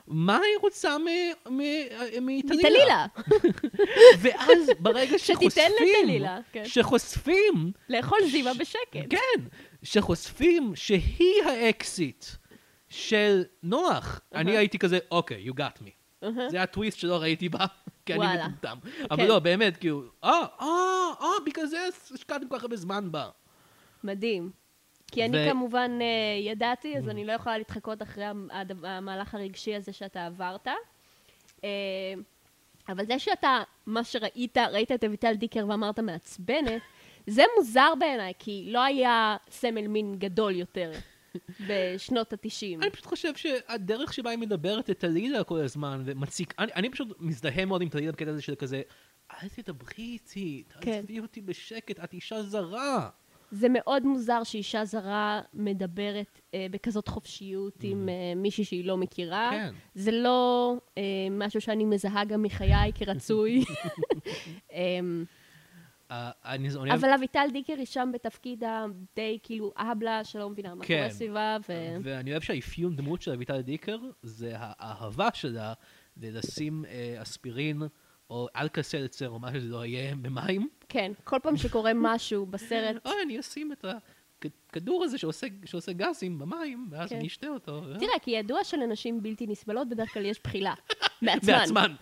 [SPEAKER 1] מה היא רוצה מ- מ- מטלילה?
[SPEAKER 2] טלילה,
[SPEAKER 1] ואז ברגע
[SPEAKER 2] שתיתן
[SPEAKER 1] שחושפים,
[SPEAKER 2] לטלילה, כן.
[SPEAKER 1] שחושפים
[SPEAKER 2] לאכול זיווה בשקט.
[SPEAKER 1] כן, שחושפים שהיא האקסיט של נוח. אני הייתי כזה, אוקיי, you got me.
[SPEAKER 2] אהה.
[SPEAKER 1] זה הטוויסט שלא ראיתי בה, כי אני
[SPEAKER 2] וואלה.
[SPEAKER 1] מטומטם. אבל
[SPEAKER 2] כן.
[SPEAKER 1] לא, באמת, כאילו, אה, אה, אה, בגלל זה השקעתם כל כך הרבה זמן בה.
[SPEAKER 2] מדהים. כי אני
[SPEAKER 1] ו- Mm.
[SPEAKER 2] כמובן אה, ידעתי, אז אני לא יכולה להתחקות אחרי המ- הד- המהלך הרגשי הזה שאתה עברת. אה, אבל זה שאתה, מה שראית, ראית את אביטל דיקר ואמרת מעצבנת, זה מוזר בעיניי, כי לא היה סמל מין גדול יותר בשנות התשעים.
[SPEAKER 1] אני פשוט חושב שהדרך שבה היא מדברת את טלילה כל הזמן, ומציקה, אני, אני פשוט מזדהה מאוד עם טלילה בקטע הזה של כזה, אל תדברי איתי,
[SPEAKER 2] כן.
[SPEAKER 1] תעזבי אותי בשקט, את אישה זרה.
[SPEAKER 2] זה מאוד מוזר שאישה זרה מדברת אה, בכזאת חופשיות עם אה, מישהי שהיא לא מכירה.
[SPEAKER 1] Mm-hmm. כן.
[SPEAKER 2] זה לא אה, משהו שאני מזהה גם מחיי כרצוי. אמ,
[SPEAKER 1] אה, אני זה-
[SPEAKER 2] אבל אביטל דיקר היא שם בתפקיד הדי כאילו אהבלה שלא מבינה מה
[SPEAKER 1] כן.
[SPEAKER 2] קורה סביבה. ו...
[SPEAKER 1] ואני אוהב שהאפיון דמות של אביטל דיקר זה האהבה שלה ללשים אה, אספירין או אלקסלצר או מה שזה לא יהיה במים.
[SPEAKER 2] כן, כל פעם שקורה משהו בסרט,
[SPEAKER 1] אה, אני אשים את הכדור הזה שעושה, שעושה גזים במים, ואז
[SPEAKER 2] כן.
[SPEAKER 1] אני אשתה אותו. אה?
[SPEAKER 2] תראה, כי ידוע שלנשים בלתי נסבלות בדרך כלל יש בחילה. מעצמן.
[SPEAKER 1] מעצמן.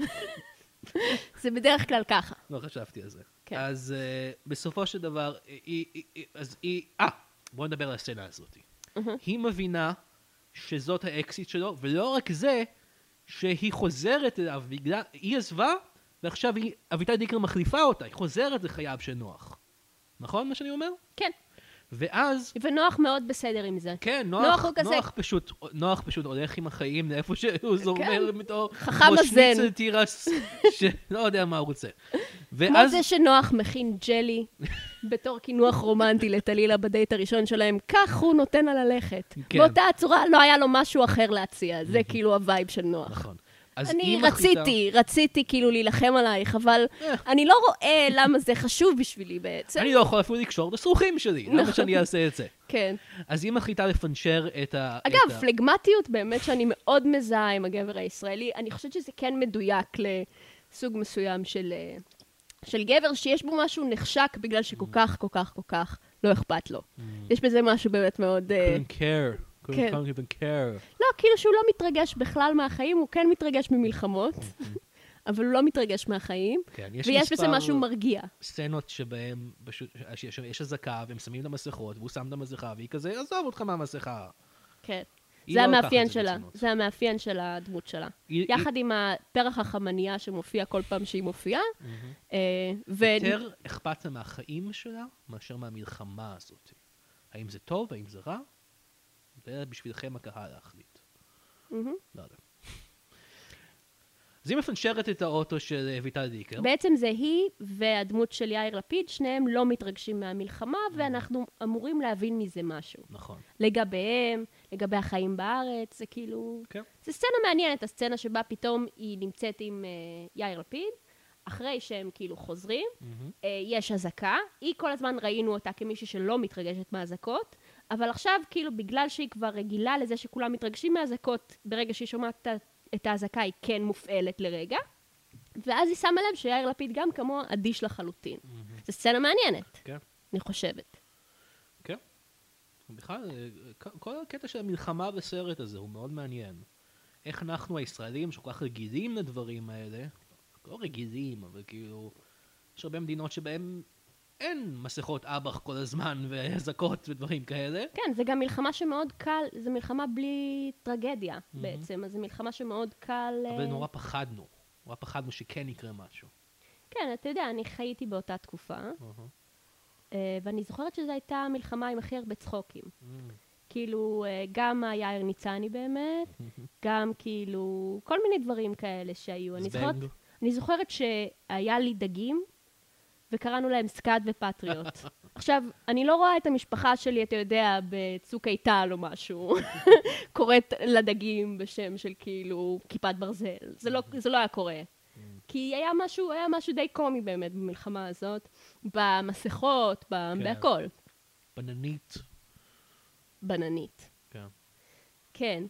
[SPEAKER 2] זה בדרך כלל ככה.
[SPEAKER 1] לא חשבתי על זה.
[SPEAKER 2] כן.
[SPEAKER 1] אז אה, בסופו של דבר, אה, היא, היא- היא- אז היא, אה, בואו נדבר על הסצנה הזאת. היא מבינה שזאת האקסיט שלו, ולא רק זה, שהיא חוזרת אליו בגלל, היא עזבה, ועכשיו היא, אביטל דיקר מחליפה אותה, היא חוזרת לחייו של נוח. נכון מה שאני אומר?
[SPEAKER 2] כן.
[SPEAKER 1] ואז,
[SPEAKER 2] ונוח מאוד בסדר עם זה.
[SPEAKER 1] כן,
[SPEAKER 2] נוח
[SPEAKER 1] נוח,
[SPEAKER 2] הוא כזה- כן.
[SPEAKER 1] נוח, פשוט, נוח פשוט הולך עם החיים לאיפה שהוא זומר מתור,
[SPEAKER 2] חכם
[SPEAKER 1] כמו
[SPEAKER 2] הזן.
[SPEAKER 1] שניצל תירס, שלא יודע מה הוא רוצה.
[SPEAKER 2] כמו זה שנוח מכין ג'לי בתור קינוח רומנטי לטלילה בדייט הראשון שלהם, כך הוא נותן לה ללכת.
[SPEAKER 1] כן.
[SPEAKER 2] באותה הצורה לא היה לו משהו אחר להציע, זה כאילו הווייב של נוח.
[SPEAKER 1] נכון. אז
[SPEAKER 2] אני
[SPEAKER 1] היא מחליטה-
[SPEAKER 2] רציתי, רציתי כאילו להילחם עלייך, אבל
[SPEAKER 1] אה.
[SPEAKER 2] אני לא רואה למה זה חשוב בשבילי בעצם.
[SPEAKER 1] אני לא יכול אפילו לקשור את הסרוכים שלי, למה
[SPEAKER 2] נכון.
[SPEAKER 1] שאני אעשה את זה?
[SPEAKER 2] כן.
[SPEAKER 1] אז היא מחליטה לפנצ'ר את ה... את
[SPEAKER 2] אגב,
[SPEAKER 1] ה-
[SPEAKER 2] פלגמטיות באמת שאני מאוד מזהה עם הגבר הישראלי, אני חושבת שזה כן מדויק לסוג מסוים של, אה, של גבר שיש בו משהו נחשק בגלל שכל
[SPEAKER 1] Mm.
[SPEAKER 2] כך, כל כך, כל כך לא אכפת לו. יש בזה משהו באמת מאוד... אה,
[SPEAKER 1] couldn't care, couldn't
[SPEAKER 2] כן.
[SPEAKER 1] couldn't even care.
[SPEAKER 2] לא, כאילו שהוא לא מתרגש בכלל מהחיים, הוא כן מתרגש ממלחמות, אבל הוא לא מתרגש מהחיים,
[SPEAKER 1] כן,
[SPEAKER 2] ויש בזה
[SPEAKER 1] Mm-hmm. מספר
[SPEAKER 2] משהו מרגיע.
[SPEAKER 1] סצנות שבהן פשוט, שיש- יש אזעקה, והם שמים לה מסכות, והוא שם את המסכה, והיא כזה, עזוב אותך מהמסכה.
[SPEAKER 2] כן.
[SPEAKER 1] היא
[SPEAKER 2] זה
[SPEAKER 1] לא לוקחת
[SPEAKER 2] המאפיין
[SPEAKER 1] את זה
[SPEAKER 2] שלה,
[SPEAKER 1] ברצינות.
[SPEAKER 2] זה המאפיין של הדמות שלה.
[SPEAKER 1] היא-
[SPEAKER 2] יחד עם הפרח החמנייה שמופיע כל פעם שהיא מופיעה, אה, ו...
[SPEAKER 1] Mm-hmm. יותר אכפת לה מהחיים שלה, מאשר מהמלחמה הזאת. האם זה טוב, האם זה רע? זה בשבילכם הקהל להחליט.
[SPEAKER 2] מהמם.
[SPEAKER 1] לא יודע. אז היא מפנצ'רת את האוטו של אביטל דיקר.
[SPEAKER 2] Mm-hmm. בעצם זה היא והדמות של יאיר לפיד, שניהם לא מתרגשים מהמלחמה, ואנחנו אמורים להבין מזה משהו.
[SPEAKER 1] נכון.
[SPEAKER 2] לגביהם, לגבי החיים בארץ, זה כאילו...
[SPEAKER 1] כן.
[SPEAKER 2] זה סצנה מעניינת, הסצנה שבה פתאום היא נמצאת עם אה, יאיר לפיד, אחרי שהם כאילו חוזרים, אה, יש אזעקה, היא כל הזמן ראינו אותה כמישהי שלא מתרגשת מהאזעקות, אבל עכשיו כאילו בגלל שהיא כבר רגילה לזה שכולם מתרגשים מהאזעקות, ברגע שהיא שומעת את ה- את האזעקה היא כן מופעלת לרגע, ואז היא שמה לב שיאיר לפיד גם כמוה אדיש לחלוטין. זו סצנה מעניינת,
[SPEAKER 1] כן,
[SPEAKER 2] אני חושבת.
[SPEAKER 1] כן. בכלל, אה, כ- כל הקטע של המלחמה בסרט הזה הוא מאוד מעניין. איך אנחנו הישראלים שכל כך רגילים לדברים האלה, לא רגילים, אבל כאילו, יש הרבה מדינות שבהן אין מסכות אב"ח כל הזמן ואזעקות ודברים כאלה.
[SPEAKER 2] כן, זה גם מלחמה שמאוד קל, זו מלחמה בלי טרגדיה בעצם, אז זו מלחמה שמאוד קל...
[SPEAKER 1] אבל
[SPEAKER 2] אה,
[SPEAKER 1] נורא פחדנו. נורא פחדנו שכן יקרה משהו.
[SPEAKER 2] כן, אתה יודע, אני חייתי באותה תקופה, אה, ואני זוכרת שזו הייתה המלחמה עם הכי הרבה צחוקים. כאילו, אה, גם היאיר ניצני באמת, גם כאילו, כל מיני דברים כאלה שהיו. אני זוכרת,
[SPEAKER 1] זבנג.
[SPEAKER 2] אני זוכרת שהיה לי דגים, וקראנו להם סקאד ופטריוט. עכשיו, אני לא רואה את המשפחה שלי, אתה יודע, בצוק איתן או משהו, קוראת לדגים בשם של כאילו כיפת ברזל. זה לא, זה לא היה קורה.
[SPEAKER 1] Mm.
[SPEAKER 2] כי היה משהו, היה משהו די קומי באמת במלחמה הזאת, במסכות, ב-
[SPEAKER 1] כן.
[SPEAKER 2] בהכל.
[SPEAKER 1] בננית.
[SPEAKER 2] בננית.
[SPEAKER 1] כן.
[SPEAKER 2] כן.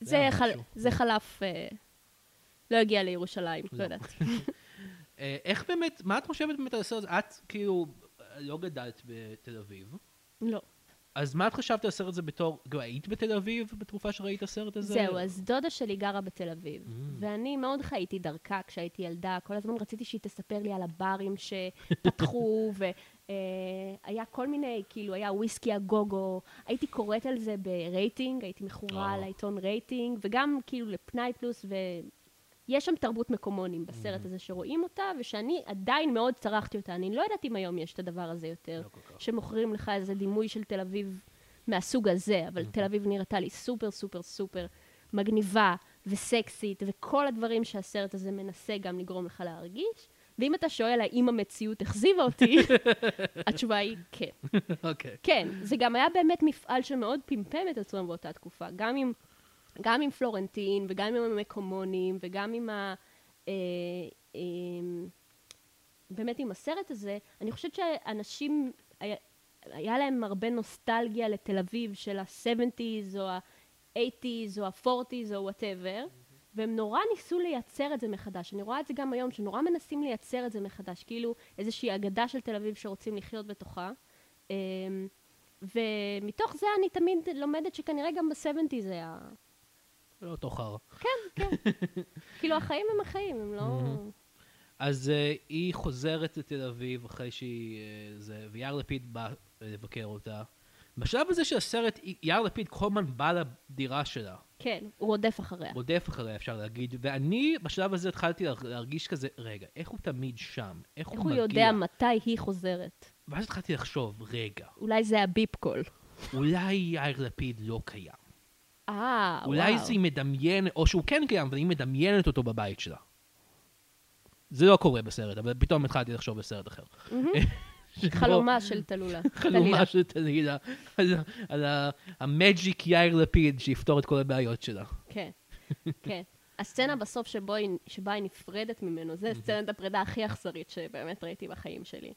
[SPEAKER 1] זה
[SPEAKER 2] זה,
[SPEAKER 1] היה
[SPEAKER 2] חל...
[SPEAKER 1] משהו.
[SPEAKER 2] זה חלף, אה, לא הגיע לירושלים, לא,
[SPEAKER 1] לא.
[SPEAKER 2] יודעת.
[SPEAKER 1] אה, איך באמת, מה את חושבת באמת על הסרט? הזה? את כאילו אה, לא גדלת בתל אביב.
[SPEAKER 2] לא.
[SPEAKER 1] אז מה את חשבת על הסרט הזה בתור, גם היית בתל אביב בתקופה שראית את הסרט הזה?
[SPEAKER 2] זהו, אז דודה שלי גרה בתל אביב, ואני מאוד חייתי דרכה כשהייתי ילדה, כל הזמן רציתי שהיא תספר לי על הברים שפתחו, והיה כל מיני, כאילו, היה וויסקי הגוגו, הייתי קוראת על זה ברייטינג, הייתי מכורה
[SPEAKER 1] אה.
[SPEAKER 2] לעיתון רייטינג, וגם כאילו לפנאי פלוס, ויש שם תרבות מקומונים
[SPEAKER 1] Mm-hmm.
[SPEAKER 2] בסרט הזה שרואים אותה, ושאני עדיין מאוד צרכתי אותה, אני לא יודעת אם היום יש את הדבר הזה יותר,
[SPEAKER 1] לא כל כך.
[SPEAKER 2] שמוכרים לך איזה דימוי של תל אביב מהסוג הזה, אבל
[SPEAKER 1] Mm-hmm.
[SPEAKER 2] תל אביב נראתה לי סופר סופר סופר מגניבה וסקסית, וכל הדברים שהסרט הזה מנסה גם לגרום לך להרגיש, ואם אתה שואל האם המציאות הכזיבה אותי, התשובה היא כן.
[SPEAKER 1] אוקיי.
[SPEAKER 2] כן, זה גם היה באמת מפעל שמאוד פמפם את עצמם באותה תקופה. גם עם, גם עם פלורנטין, וגם עם המקומונים, וגם עם ה... אה, אה, באמת עם הסרט הזה, אני חושבת שאנשים, היה, היה להם הרבה נוסטלגיה לתל אביב של ה-70's או ה-80's או ה-40's או וואטאבר, והם נורא ניסו לייצר את זה מחדש. אני רואה את זה גם היום, שנורא מנסים לייצר את זה מחדש, כאילו איזושהי אגדה של תל אביב שרוצים לחיות בתוכה. אמ, ומתוך זה אני תמיד לומדת שכנראה גם ב-70's היה...
[SPEAKER 1] זה לא אותו חרא.
[SPEAKER 2] כן, כאילו החיים הם החיים, הם לא...
[SPEAKER 1] אז אה, היא חוזרת לתל אביב אחרי שהיא... אה, זה, ויאיר לפיד בא אה, לבקר אותה. בשלב הזה של הסרט, היא- יאיר לפיד כל הזמן בא לדירה שלה.
[SPEAKER 2] כן, הוא רודף אחריה.
[SPEAKER 1] רודף אחריה, אפשר להגיד. ואני בשלב הזה התחלתי לה- להרגיש כזה, רגע, איך הוא תמיד שם? איך הוא
[SPEAKER 2] איך הוא
[SPEAKER 1] מגיע?
[SPEAKER 2] יודע מתי היא חוזרת?
[SPEAKER 1] ואז התחלתי לחשוב, רגע,
[SPEAKER 2] אולי זה הביפ קול.
[SPEAKER 1] אולי יאיר לפיד לא קיים.
[SPEAKER 2] אה, וואו.
[SPEAKER 1] אולי זה היא מדמיינת, או שהוא כן קיים, אבל היא מדמיינת אותו בבית שלה. זה לא קורה בסרט, אבל פתאום התחלתי לחשוב בסרט אחר. שבו-
[SPEAKER 2] חלומה של תלולה.
[SPEAKER 1] חלומה של תלילה, על, ה- על ה- המג'יק יאיר לפיד שיפתור את כל הבעיות שלה.
[SPEAKER 2] כן, כן. הסצנה בסוף שבו היא, שבה היא נפרדת ממנו, זה סצנת הפרידה הכי אכזרית שבאמת ראיתי בחיים שלי.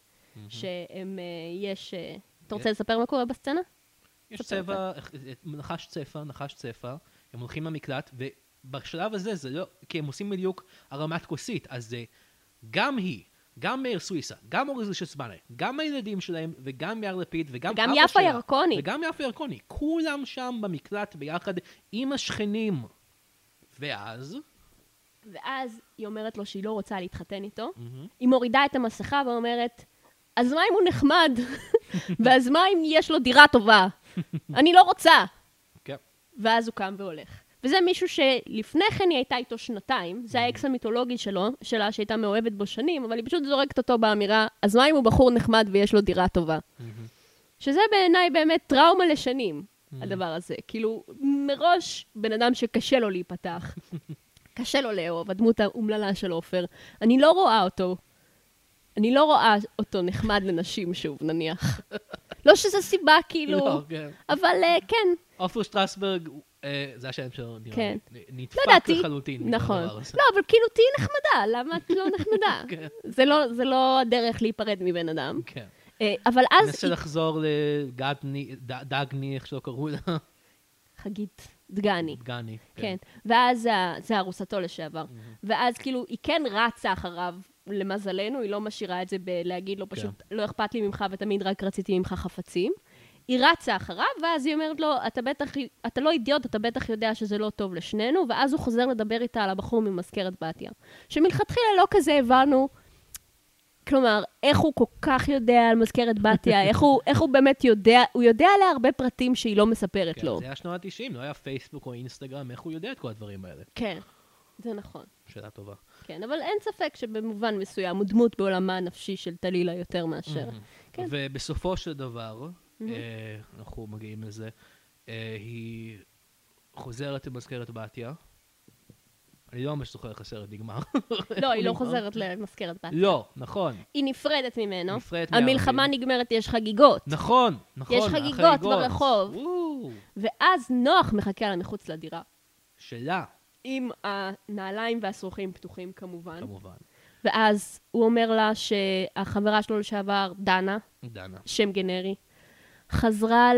[SPEAKER 2] שהם, אה, יש... אה, אתה רוצה לספר מה קורה בסצנה?
[SPEAKER 1] יש
[SPEAKER 2] ספר
[SPEAKER 1] צבע, אה, נחש צפה, נחש צפה, הם הולכים למקלט, ובשלב הזה זה לא, כי הם עושים בדיוק הרמת כוסית, אז זה גם היא, גם מאיר סוויסה, גם אורי זושסבנה, גם הילדים שלהם, וגם יאיר לפיד, וגם
[SPEAKER 2] וגם
[SPEAKER 1] אבא
[SPEAKER 2] יפה
[SPEAKER 1] שלה,
[SPEAKER 2] ירקוני.
[SPEAKER 1] וגם יפה ירקוני, כולם שם במקלט ביחד עם השכנים. ואז,
[SPEAKER 2] ואז היא אומרת לו שהיא לא רוצה להתחתן איתו. היא מורידה את המסכה ואומרת, אז מה אם הוא נחמד? ואז מה אם יש לו דירה טובה? אני לא רוצה.
[SPEAKER 1] כן,
[SPEAKER 2] ואז הוא קם והולך. וזה מישהו שלפני כן היא הייתה איתו שנתיים, זה האקס המיתולוגי שלו, שלה שהייתה מאוהבת בו שנים, אבל היא פשוט זורקת אותו באמירה, אז מה אם הוא בחור נחמד ויש לו דירה טובה? שזה בעיניי באמת טראומה לשנים, הדבר הזה. כאילו, מראש בן אדם שקשה לו להיפתח, קשה לו לאהוב, הדמות האומללה של עופר. אני לא רואה אותו, אני לא רואה אותו נחמד לנשים שוב, נניח. לא שזו סיבה, כאילו,
[SPEAKER 1] לא, כן.
[SPEAKER 2] אבל אה, כן,
[SPEAKER 1] עופר שטרסברג, אה, זה השם שלו, נראה
[SPEAKER 2] כן.
[SPEAKER 1] לי,
[SPEAKER 2] לא
[SPEAKER 1] נדפק
[SPEAKER 2] ידעתי.
[SPEAKER 1] לחלוטין. מכל
[SPEAKER 2] נכון.
[SPEAKER 1] הדבר הזה.
[SPEAKER 2] לא, אבל כאילו תהיי נחמדה, למה את לא נחמדה?
[SPEAKER 1] כן.
[SPEAKER 2] זה לא- זה לא הדרך להיפרד מבן אדם.
[SPEAKER 1] כן.
[SPEAKER 2] אה, אבל אז...
[SPEAKER 1] ננסה
[SPEAKER 2] היא-
[SPEAKER 1] לחזור לדגני, ד- דגני, איך שלא קראו לה,
[SPEAKER 2] חגית דגני.
[SPEAKER 1] דגני.
[SPEAKER 2] כן. ואז ה- זה ארוסתו לשעבר. ואז כאילו, היא כן רצה אחריו, למזלנו, היא לא משאירה את זה בלהגיד לו פשוט,
[SPEAKER 1] כן.
[SPEAKER 2] לא אכפת לי ממך ותמיד רק רציתי ממך חפצים. היא רצה אחריו, ואז היא אומרת לו, אתה בטח, אתה לא אידיוט, אתה בטח יודע שזה לא טוב לשנינו, ואז הוא חוזר לדבר איתה על הבחור ממזכרת בתיה. שמלכתחילה לא כזה הבנו, כלומר, איך הוא כל כך יודע על מזכרת בתיה, איך, הוא, איך הוא באמת יודע, הוא יודע עליה הרבה פרטים שהיא לא מספרת
[SPEAKER 1] כן,
[SPEAKER 2] לו.
[SPEAKER 1] זה היה שנות ה-90, לא היה פייסבוק או אינסטגרם, איך הוא יודע את כל הדברים האלה?
[SPEAKER 2] כן, זה נכון.
[SPEAKER 1] שאלה טובה.
[SPEAKER 2] כן, אבל אין ספק שבמובן מסוים הוא דמות בעולמה הנפשי של טלילה יותר מאשר. כן.
[SPEAKER 1] ובסופו של דבר, אה, אנחנו מגיעים לזה, אה, היא חוזרת למזכרת בתיה. אני לא ממש זוכר איך הסרט נגמר.
[SPEAKER 2] לא, היא לא חוזרת למזכרת בת.
[SPEAKER 1] אה? לא, נכון,
[SPEAKER 2] היא נפרדת ממנו.
[SPEAKER 1] נפרדת
[SPEAKER 2] המלחמה
[SPEAKER 1] מהערבים.
[SPEAKER 2] נגמרת, יש חגיגות.
[SPEAKER 1] נכון, נכון.
[SPEAKER 2] חגיגות
[SPEAKER 1] החגיגות.
[SPEAKER 2] ברחוב.
[SPEAKER 1] וואו,
[SPEAKER 2] ואז נוח מחכה לה מחוץ לדירה.
[SPEAKER 1] שלה,
[SPEAKER 2] עם הנעליים והשרוכים פתוחים כמובן.
[SPEAKER 1] כמובן.
[SPEAKER 2] ואז הוא אומר לה שהחברה שלו לשעבר, דנה,
[SPEAKER 1] דנה.
[SPEAKER 2] שם גנרי, חזרה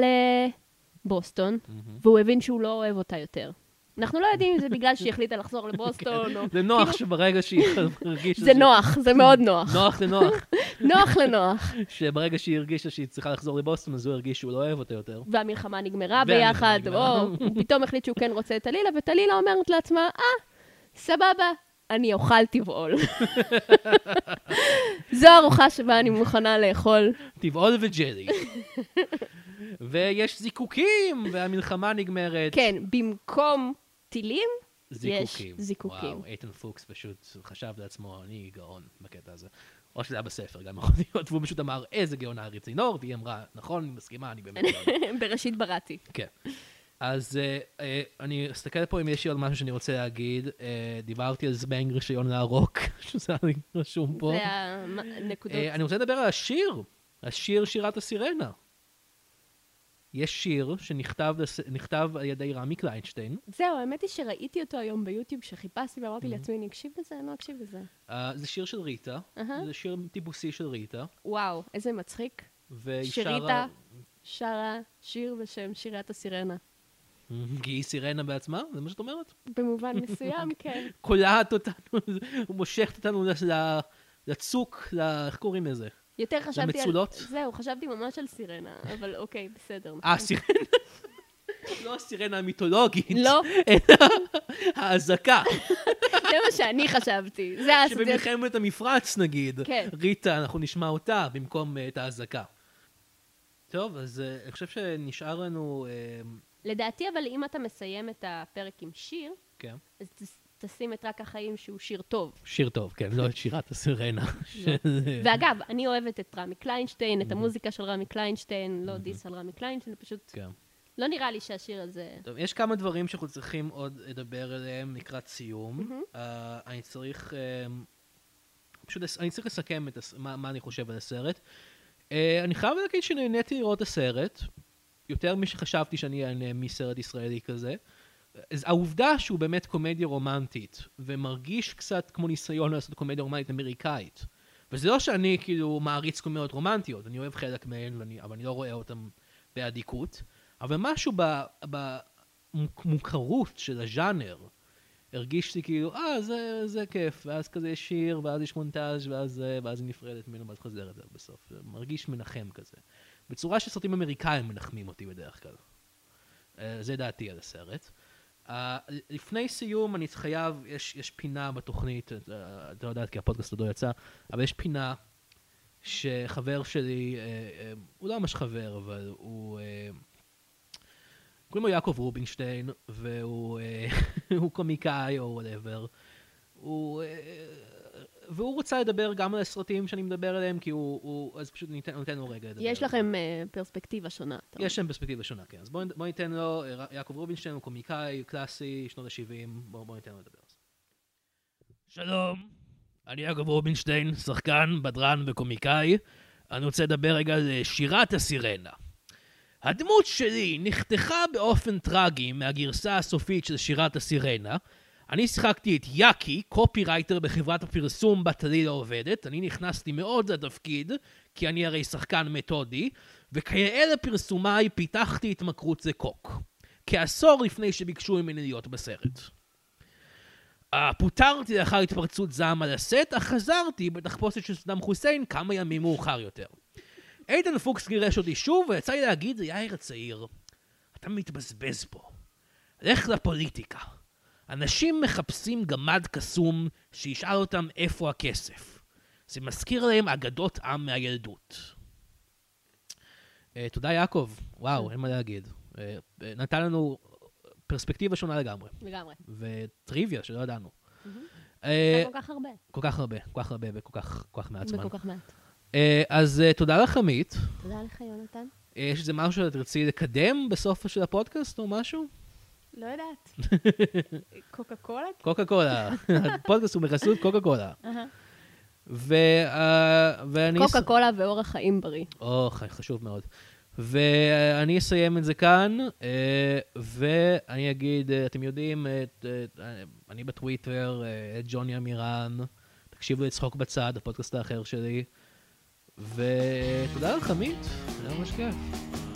[SPEAKER 2] לבוסטון, והוא הבין שהוא לא אוהב אותה יותר. אנחנו לא יודעים אם זה בגלל שהיא החליטה לחזור לבוסטון, או...
[SPEAKER 1] זה נוח שברגע שהיא הרגישה...
[SPEAKER 2] כאילו- זה
[SPEAKER 1] ש-
[SPEAKER 2] נוח, זה מאוד נוח.
[SPEAKER 1] נוח זה נוח.
[SPEAKER 2] נוח לנוח.
[SPEAKER 1] שברגע שהיא הרגישה שהיא צריכה לחזור לבוסטון, אז הוא הרגיש שהוא לא אוהב אותה יותר.
[SPEAKER 2] והמלחמה נגמרה
[SPEAKER 1] והמלחמה
[SPEAKER 2] ביחד,
[SPEAKER 1] נגמרה.
[SPEAKER 2] או, הוא פתאום החליט שהוא כן רוצה את טלילה, וטלילה אומרת לעצמה, אה, סבבה, אני אוכל תבעול. זו ארוחה שבה אני מוכנה לאכול.
[SPEAKER 1] טבעול וג'לי. ויש זיקוקים, והמלחמה נגמרת.
[SPEAKER 2] כן, במקום טילים,
[SPEAKER 1] זיקוקים.
[SPEAKER 2] יש זיקוקים.
[SPEAKER 1] וואו, איתן פוקס פשוט חשב לעצמו, אני גאון בקטע הזה. או שזה היה בספר, גם יכול להיות, והוא פשוט אמר, איזה גאונה ארי צינור, והיא אמרה, נכון, אני מסכימה, אני באמת גאון.
[SPEAKER 2] בראשית בראתי.
[SPEAKER 1] כן. אז אה, אה, אני אסתכל פה אם יש לי עוד משהו שאני רוצה להגיד. אה, דיברתי על זבנג רישיון לערוק, שזה היה לי רשום פה.
[SPEAKER 2] זה הנקודות.
[SPEAKER 1] אה, אני רוצה לדבר על השיר, השיר שירת הסירנה. יש שיר שנכתב לס- נכתב על ידי רמי קליינשטיין.
[SPEAKER 2] זהו, האמת היא שראיתי אותו היום ביוטיוב, שחיפשתי ואמרתי לעצמי, אני אקשיב לזה? אני לא אקשיב לזה.
[SPEAKER 1] אה, זה שיר של ריטה,
[SPEAKER 2] אהה.
[SPEAKER 1] זה שיר טיפוסי של ריטה.
[SPEAKER 2] וואו, איזה מצחיק.
[SPEAKER 1] והיא
[SPEAKER 2] שריטה
[SPEAKER 1] אה, שרה-
[SPEAKER 2] שרה שיר בשם שירת הסירנה.
[SPEAKER 1] כי היא סירנה בעצמה, זה מה שאת אומרת?
[SPEAKER 2] במובן מסוים, כן.
[SPEAKER 1] קולעת אותנו, מושכת אותנו לס- ל- לצוק, ל- איך קוראים לזה?
[SPEAKER 2] יותר חשבתי על...
[SPEAKER 1] למצולות?
[SPEAKER 2] זהו, חשבתי ממש על סירנה, אבל אוקיי, בסדר.
[SPEAKER 1] אה, הסירנה. לא הסירנה המיתולוגית.
[SPEAKER 2] לא,
[SPEAKER 1] אלא האזעקה,
[SPEAKER 2] זה מה שאני חשבתי. זה האסוציאציה.
[SPEAKER 1] שבמלחמת המפרץ נגיד,
[SPEAKER 2] כן.
[SPEAKER 1] ריטה, אנחנו נשמע אותה במקום אה, את האזעקה. טוב, אז אה, אני חושב שנשאר לנו... אה,
[SPEAKER 2] לדעתי, אבל אם אתה מסיים את הפרק עם שיר,
[SPEAKER 1] כן.
[SPEAKER 2] אז ת- תשים את רק החיים שהוא שיר טוב.
[SPEAKER 1] שיר טוב, כן, לא את שירת הסירנה. כן.
[SPEAKER 2] ואגב, אני אוהבת את רמי קליינשטיין,
[SPEAKER 1] Mm-hmm.
[SPEAKER 2] את המוזיקה של רמי קליינשטיין, לא דיס על רמי קליינשטיין, פשוט
[SPEAKER 1] כן.
[SPEAKER 2] לא נראה לי שהשיר הזה...
[SPEAKER 1] טוב, יש כמה דברים שאנחנו צריכים עוד לדבר עליהם לקראת סיום. אה, אני צריך... אה, פשוט לס- אני צריך לסכם את הס- מה מה אני חושב על הסרט. אה, אני חייב להגיד שנהניתי לראות את הסרט, יותר משחשבתי שאני אהנה מסרט ישראלי כזה. אז העובדה שהוא באמת קומדיה רומנטית, ומרגיש קצת כמו ניסיון לעשות קומדיה רומנטית אמריקאית. וזה לא שאני כאילו מעריץ קומדיות רומנטיות, אני אוהב חלק מהן, ואני- אבל אני לא רואה אותן באדיקות. אבל משהו במוכרות של הז'אנר, הרגיש לי כאילו, אה, זה, זה כיף, ואז כזה יש שיר, ואז יש מונטאז' ואז זה, ואז היא נפרדת ממנו, ואז חוזרת אליו בסוף. זה מרגיש מנחם כזה. בצורה שסרטים אמריקאים מנחמים אותי בדרך כלל. אה, זה דעתי על הסרט. Uh, לפני סיום, אני חייב, יש, יש פינה בתוכנית, את אה, את לא יודעת כי הפודקאסט עוד לא יצא, אבל יש פינה שחבר שלי, אה, אה, הוא לא ממש חבר, אבל הוא... אה, קוראים לו יעקב רובינשטיין, והוא אה, הוא קומיקאי או וואטאבר. הוא... אה, והוא רצה לדבר גם על הסרטים שאני מדבר עליהם, כי הוא... הוא אז פשוט ניתן, ניתן לו רגע לדבר.
[SPEAKER 2] יש לכם אה, פרספקטיבה שונה. אתה
[SPEAKER 1] יש להם פרספקטיבה שונה, כן. אז בואו נ- בואו ניתן לו, אה, ר- יעקב רובינשטיין הוא קומיקאי, קלאסי, שנות ה-70, בואו בואו ניתן לו לדבר. על זה. שלום, אני יעקב רובינשטיין, שחקן, בדרן וקומיקאי. אני רוצה לדבר רגע על אה, שירת הסירנה. הדמות שלי נחתכה באופן טרגי מהגרסה הסופית של שירת הסירנה. אני שיחקתי את יאקי, קופירייטר בחברת הפרסום בת עלילה עובדת. אני נכנסתי מאוד לתפקיד, כי אני הרי שחקן מתודי, וכיאה לפרסומיי פיתחתי התמכרות לקוק. כעשור לפני שביקשו ממני להיות בסרט. אה, פוטרתי לאחר התפרצות זעם על הסט, אך חזרתי בתחפושת של סדאם חוסיין כמה ימים מאוחר יותר. איתן פוקס גירש אותי שוב, ויצא לי להגיד ליאיר הצעיר, אתה מתבזבז פה. לך לפוליטיקה. אנשים מחפשים גמד קסום שישאל אותם איפה הכסף. זה מזכיר להם אגדות עם מהילדות. אה, תודה יעקב,
[SPEAKER 2] כן.
[SPEAKER 1] וואו, אין מה להגיד. אה, אה, נתן לנו פרספקטיבה שונה לגמרי.
[SPEAKER 2] לגמרי.
[SPEAKER 1] וטריוויה שלא ידענו.
[SPEAKER 2] זה
[SPEAKER 1] אה,
[SPEAKER 2] כל כך הרבה.
[SPEAKER 1] כל כך הרבה, כל כך הרבה וכל כך כל כך מעט זמן.
[SPEAKER 2] נכון. וכל כך מעט.
[SPEAKER 1] אה, אז אה, תודה לך, עמית.
[SPEAKER 2] תודה לך, יונתן.
[SPEAKER 1] אה, יש איזה משהו שאת תרצי לקדם בסוף של הפודקאסט או משהו?
[SPEAKER 2] לא יודעת. קוקה קולה?
[SPEAKER 1] קוקה קולה. הפודקאסט הוא בחסות קוקה קולה. אה, ואני...
[SPEAKER 2] קוקה קולה ואורח חיים בריא.
[SPEAKER 1] או, ח- חשוב מאוד. ואני אסיים את זה כאן, אה, ואני אגיד, אה, אתם יודעים, את- את- אה, אני בטוויטר, אה, את ג'וני עמירן, תקשיבו לצחוק בצד, הפודקאסט האחר שלי, ותודה לך, עמית, היה ממש כיף.